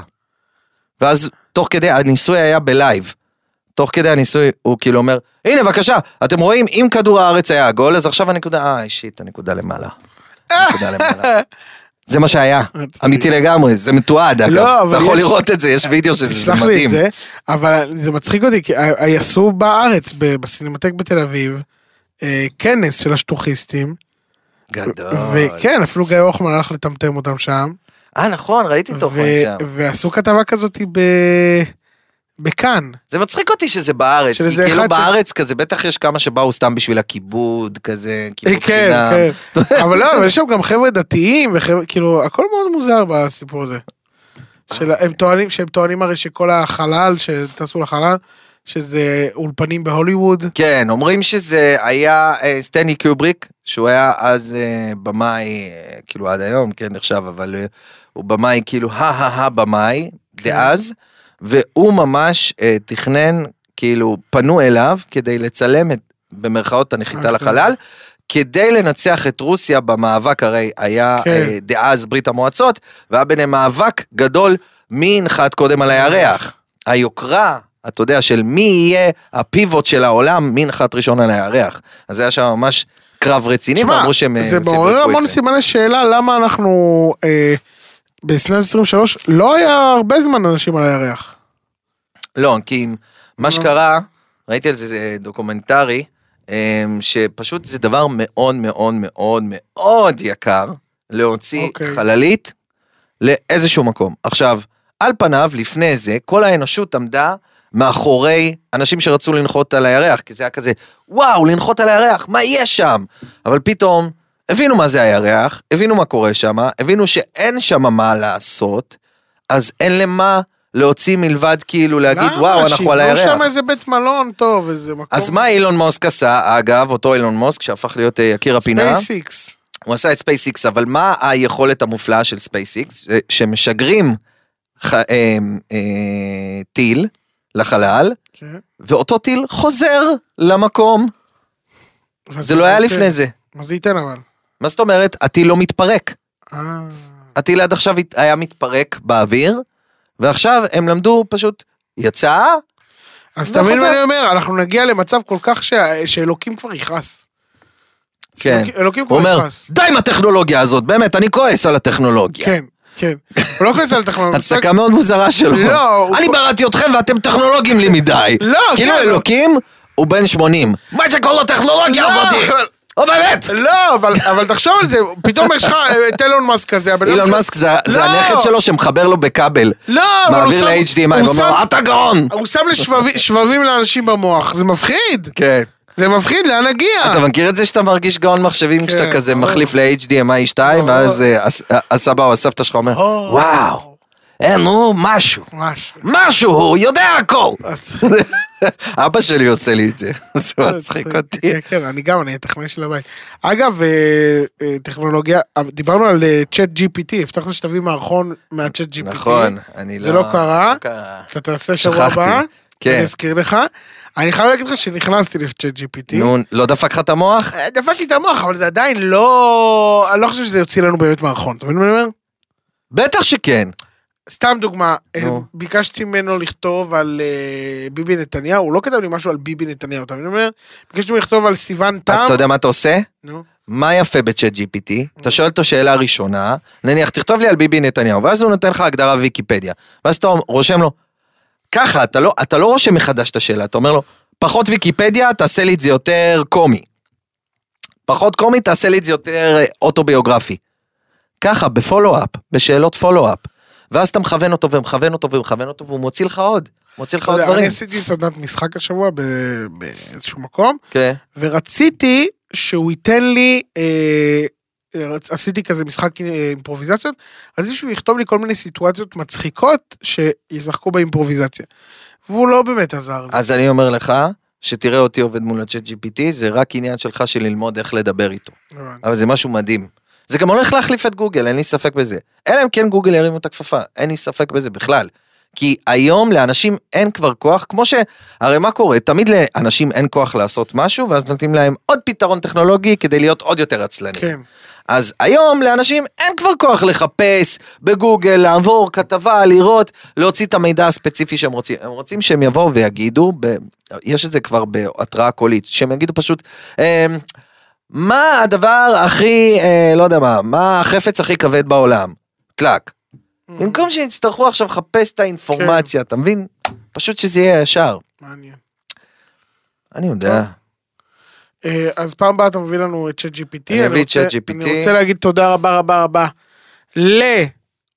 [SPEAKER 4] ואז תוך כדי, הניסוי היה בלייב. תוך כדי הניסוי הוא כאילו אומר, הנה בבקשה, אתם רואים, אם כדור הארץ היה עגול, אז עכשיו הנקודה, אה, שיט, הנקודה למעלה. הנקודה למעלה. זה מה שהיה, אמיתי לגמרי, זה מתועד אגב,
[SPEAKER 1] לא, אבל
[SPEAKER 4] אתה יכול
[SPEAKER 1] יש-
[SPEAKER 4] לראות את זה, יש וידאו של זה, זה
[SPEAKER 1] תשלח לי
[SPEAKER 4] מדהים.
[SPEAKER 1] את זה, אבל זה מצחיק אותי, כי ה- עשו בארץ, ב- בסינמטק בתל אביב, אה, כנס של השטוחיסטים,
[SPEAKER 4] גדול.
[SPEAKER 1] וכן, אפילו גיא הוחמן הלך לטמטם אותם שם,
[SPEAKER 4] אה נכון, ראיתי תוכן
[SPEAKER 1] ו-
[SPEAKER 4] שם.
[SPEAKER 1] ועשו כתבה כזאת ב... בכאן.
[SPEAKER 4] זה מצחיק אותי שזה בארץ,
[SPEAKER 1] של
[SPEAKER 4] כי
[SPEAKER 1] איזה
[SPEAKER 4] כאילו
[SPEAKER 1] אחד ש-
[SPEAKER 4] בארץ כזה, בטח יש כמה שבאו סתם בשביל הכיבוד, כזה, כאילו,
[SPEAKER 1] כן,
[SPEAKER 4] כיבוד חינם.
[SPEAKER 1] כן. אבל לא, אבל יש שם גם חבר'ה דתיים, וחבר'ה, כאילו, הכל מאוד מוזר בסיפור הזה. של- הם
[SPEAKER 4] אה.
[SPEAKER 1] טוענים, שהם טוענים הרי שכל החלל, שטסו לחלל, שזה אולפנים בהוליווד.
[SPEAKER 4] כן, אומרים שזה היה אה, סטנלי קיובריק, שהוא היה אז אה, במאי, אה, כאילו עד היום, כן נחשב, אבל אה, הוא במאי כאילו הא-הא-הא במאי,
[SPEAKER 1] כן.
[SPEAKER 4] דאז, והוא ממש אה, תכנן, כאילו פנו אליו כדי לצלם את, במרכאות, הנחיתה
[SPEAKER 1] אוקיי.
[SPEAKER 4] לחלל. כדי לנצח את רוסיה במאבק, הרי היה
[SPEAKER 1] כן.
[SPEAKER 4] אה, דאז ברית המועצות, והיה ביניהם מאבק גדול מי ינחת קודם על הירח. היוקרה, אתה יודע, של מי יהיה הפיבוט של העולם, מי ינחת ראשון על הירח. אז היה שם ממש קרב רציני,
[SPEAKER 1] תשמע,
[SPEAKER 4] ואמרו שהם... אה,
[SPEAKER 1] זה
[SPEAKER 4] פיברקו
[SPEAKER 1] מעורר
[SPEAKER 4] את
[SPEAKER 1] המון
[SPEAKER 4] זה.
[SPEAKER 1] סימני שאלה למה אנחנו אה, בשנת 23 לא היה הרבה זמן אנשים על הירח.
[SPEAKER 4] לא, כי מה שקרה, ראיתי על זה, זה דוקומנטרי, אמ, שפשוט זה דבר מאוד מאוד מאוד מאוד יקר להוציא
[SPEAKER 1] אוקיי.
[SPEAKER 4] חללית לאיזשהו מקום. עכשיו, על פניו, לפני זה, כל האנושות עמדה מאחורי אנשים שרצו לנחות על הירח, כי זה היה כזה, וואו, לנחות על הירח, מה יהיה שם? אבל פתאום הבינו מה זה הירח, הבינו מה קורה שם, הבינו שאין שם מה לעשות, אז אין למה להוציא מלבד כאילו להגיד,
[SPEAKER 1] למה?
[SPEAKER 4] וואו, אנחנו על הירח.
[SPEAKER 1] שיבנו שם איזה בית מלון טוב, איזה מקום.
[SPEAKER 4] אז מה אילון מוסק עשה, אגב, אותו אילון מוסק שהפך להיות אה, יקיר הפינה,
[SPEAKER 1] ספייסיקס.
[SPEAKER 4] הוא עשה את ספייסיקס, אבל מה היכולת המופלאה של ספייסיקס? ש- שמשגרים ח- אה, אה, טיל לחלל,
[SPEAKER 1] כן.
[SPEAKER 4] ואותו טיל חוזר למקום,
[SPEAKER 1] ואז
[SPEAKER 4] זה לא היה
[SPEAKER 1] ייתן-
[SPEAKER 4] לפני זה.
[SPEAKER 1] מה זה ייתן אבל?
[SPEAKER 4] מה זאת אומרת? הטיל לא מתפרק.
[SPEAKER 1] אה,
[SPEAKER 4] הטיל עד עכשיו הת- היה מתפרק באוויר, ועכשיו הם למדו פשוט, יצא,
[SPEAKER 1] אז אתה מבין
[SPEAKER 4] וחוזר.
[SPEAKER 1] מה אני אומר? אנחנו נגיע למצב כל כך שה- שאלוקים כבר יכעס.
[SPEAKER 4] כן.
[SPEAKER 1] אלוקים- אלוקים
[SPEAKER 4] הוא
[SPEAKER 1] כבר
[SPEAKER 4] אומר,
[SPEAKER 1] יכעס.
[SPEAKER 4] די עם הטכנולוגיה הזאת, באמת, אני כועס על הטכנולוגיה.
[SPEAKER 1] כן, כן. הוא לא כועס על טכנולוגיה.
[SPEAKER 4] הצדקה מאוד מוזרה שלו.
[SPEAKER 1] לא, הוא-
[SPEAKER 4] אני בראתי אתכם ואתם טכנולוגים לי מדי.
[SPEAKER 1] לא,
[SPEAKER 4] כאילו
[SPEAKER 1] כן,
[SPEAKER 4] אלוקים הוא בן 80. מה שכל הטכנולוגיה
[SPEAKER 1] לא,
[SPEAKER 4] הזאתי.
[SPEAKER 1] אבל-
[SPEAKER 4] או באמת.
[SPEAKER 1] לא, אבל, אבל תחשוב על זה, פתאום יש לך אה, את אילון מאסק כזה, הבן אדם
[SPEAKER 4] אילון
[SPEAKER 1] שלו-
[SPEAKER 4] מאסק זה זה
[SPEAKER 1] לא.
[SPEAKER 4] הדלת שלו שמחבר לו בכבל.
[SPEAKER 1] לא, אבל הוא
[SPEAKER 4] מעביר
[SPEAKER 1] שם-
[SPEAKER 4] ל-HDMI,
[SPEAKER 1] הוא
[SPEAKER 4] ואומר,
[SPEAKER 1] שם-
[SPEAKER 4] אתה גאון.
[SPEAKER 1] הוא שם לשבבים שבבים לאנשים במוח, זה מפחיד,
[SPEAKER 4] כן.
[SPEAKER 1] זה מפחיד, לאן נגיע?
[SPEAKER 4] אתה מכיר את זה שאתה מרגיש גאון
[SPEAKER 1] כן,
[SPEAKER 4] מחשבים כשאתה כזה
[SPEAKER 1] ברור.
[SPEAKER 4] מחליף ל-HDMI 2, ואז אה, הס- ה- הסבא או הסבתא שלך אומר,
[SPEAKER 1] או.
[SPEAKER 4] וואו, אין, הוא משהו.
[SPEAKER 1] ממש.
[SPEAKER 4] משהו, הוא יודע הכל. אבא שלי עושה לי את זה, זה מצחיק אותי.
[SPEAKER 1] אה, כן, כן, אני גם, אני הטכנאי של הבית. אגב, אה, אה, טכנולוגיה, אה, דיברנו על צ'אט GPT, הבטחת שתביא מערכון מהצ'אט GPT.
[SPEAKER 4] נכון, אני לא...
[SPEAKER 1] זה לא קרה.
[SPEAKER 4] לא קרה.
[SPEAKER 1] אתה תעשה שבוע
[SPEAKER 4] שכחתי,
[SPEAKER 1] הבא,
[SPEAKER 4] כן.
[SPEAKER 1] אני אזכיר לך. אני חייב להגיד לך שנכנסתי לצ'אט GPT.
[SPEAKER 4] נו, לא דפק לך את המוח?
[SPEAKER 1] אה, דפקתי את המוח, אבל זה עדיין לא... אני לא חושב שזה יוציא לנו באמת מערכון, אתה מבין מה אני אומר?
[SPEAKER 4] בטח שכן.
[SPEAKER 1] סתם דוגמה,
[SPEAKER 4] נו.
[SPEAKER 1] אה, ביקשתי ממנו לכתוב על אה, ביבי נתניהו, הוא לא כתב לי משהו על ביבי נתניהו, אתה מבין מה אני אומר? ביקשתי ממנו לכתוב על סיוון תם.
[SPEAKER 4] אז אתה יודע מה אתה עושה?
[SPEAKER 1] נו.
[SPEAKER 4] מה יפה בצ'אט GPT? אתה שואל אותו שאלה ראשונה, נניח, תכתוב לי על ביבי נתניהו, ואז הוא נותן לך הגדרה בוויקיפדיה. ואז אתה רושם לו, ככה, אתה לא, אתה לא רושם מחדש את השאלה, אתה אומר לו, פחות ויקיפדיה, תעשה לי את זה יותר קומי. פחות קומי, תעשה לי את זה יותר אה, אוטוביוגרפי. ככה, בפולו-אפ, בשאלות פולו-אפ. ואז אתה מכוון אותו ומכוון אותו ומכוון אותו, והוא מוציא לך עוד. מוציא לך
[SPEAKER 1] אתה
[SPEAKER 4] עוד
[SPEAKER 1] יודע, אני
[SPEAKER 4] דברים.
[SPEAKER 1] עשיתי סדנת משחק השבוע ב- באיזשהו מקום,
[SPEAKER 4] כן.
[SPEAKER 1] ורציתי שהוא ייתן לי, אה, רצ- עשיתי כזה משחק אה, אימפרוביזציות, רציתי שהוא יכתוב לי כל מיני סיטואציות מצחיקות שישחקו באימפרוביזציה. והוא לא באמת עזר לי.
[SPEAKER 4] אז אני אומר לך, שתראה אותי עובד מול הצ'אט GPT, זה רק עניין שלך של ללמוד איך לדבר איתו.
[SPEAKER 1] הבנתי.
[SPEAKER 4] אבל זה משהו מדהים. זה גם הולך להחליף את גוגל, אין לי ספק בזה. אלא אם כן גוגל ירימו את הכפפה, אין לי ספק בזה בכלל. כי היום לאנשים אין כבר כוח, כמו שהרי מה קורה? תמיד לאנשים אין כוח לעשות משהו, ואז נותנים להם עוד פתרון טכנולוגי כדי להיות עוד יותר עצלנים.
[SPEAKER 1] כן.
[SPEAKER 4] אז היום לאנשים אין כבר כוח לחפש בגוגל, לעבור כתבה, לראות, להוציא את המידע הספציפי שהם רוצים. הם רוצים שהם יבואו ויגידו, ב... יש את זה כבר בהתראה קולית, שהם יגידו פשוט, אה, מה הדבר הכי, אה, לא יודע מה, מה החפץ הכי כבד בעולם? טלק.
[SPEAKER 5] Mm.
[SPEAKER 4] במקום שיצטרכו עכשיו לחפש את האינפורמציה,
[SPEAKER 5] כן.
[SPEAKER 4] אתה מבין? פשוט שזה יהיה ישר.
[SPEAKER 1] מעניין.
[SPEAKER 4] אני יודע.
[SPEAKER 1] אה, אז פעם הבאה אתה מביא לנו את צ'אט GPT.
[SPEAKER 4] אני אביא את
[SPEAKER 1] רוצה-
[SPEAKER 4] ChatGPT.
[SPEAKER 1] אני רוצה להגיד תודה רבה רבה רבה ל...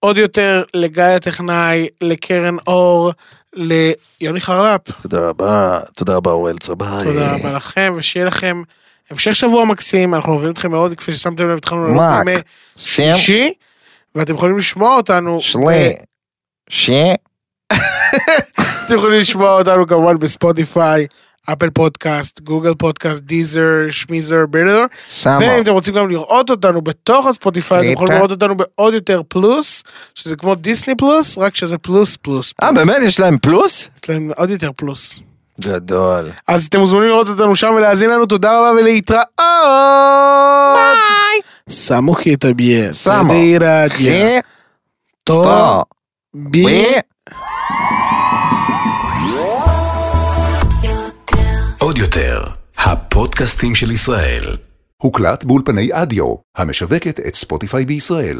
[SPEAKER 1] עוד יותר לגיא הטכנאי, לקרן אור, ליוני חרלפ.
[SPEAKER 4] אה.
[SPEAKER 5] תודה רבה, תודה רבה אה, אוראל צברי.
[SPEAKER 1] תודה רבה לכם, ושיהיה לכם המשך שבוע מקסים, אנחנו אוהבים אתכם מאוד, כפי ששמתם לב, התחלנו לעלות
[SPEAKER 4] מק,
[SPEAKER 1] בימי
[SPEAKER 4] סם,
[SPEAKER 1] שישי, ואתם יכולים לשמוע אותנו. אה,
[SPEAKER 4] שלי, שי.
[SPEAKER 1] אתם יכולים לשמוע אותנו כמובן בספוטיפיי, אפל פודקאסט, גוגל פודקאסט, דיזר, שמיזר, ברדר.
[SPEAKER 4] שמה.
[SPEAKER 1] ואם אתם רוצים גם לראות אותנו בתוך הספוטיפיי, אתם יכולים
[SPEAKER 4] קליפה.
[SPEAKER 1] לראות אותנו בעוד יותר פלוס, שזה כמו דיסני פלוס, רק שזה פלוס פלוס.
[SPEAKER 4] אה, באמת? יש להם פלוס?
[SPEAKER 1] יש להם עוד יותר פלוס.
[SPEAKER 4] גדול.
[SPEAKER 1] אז אתם מוזמנים לראות אותנו שם ולהאזין לנו, תודה רבה ולהתראות! ביי! Само хита бье.
[SPEAKER 4] Само.
[SPEAKER 1] Сады и радио.
[SPEAKER 4] חי,
[SPEAKER 1] То
[SPEAKER 4] טו,
[SPEAKER 1] бье.
[SPEAKER 4] וי.
[SPEAKER 2] עוד יותר, הפודקאסטים של ישראל.
[SPEAKER 6] הוקלט באולפני אדיו, המשווקת את ספוטיפיי בישראל.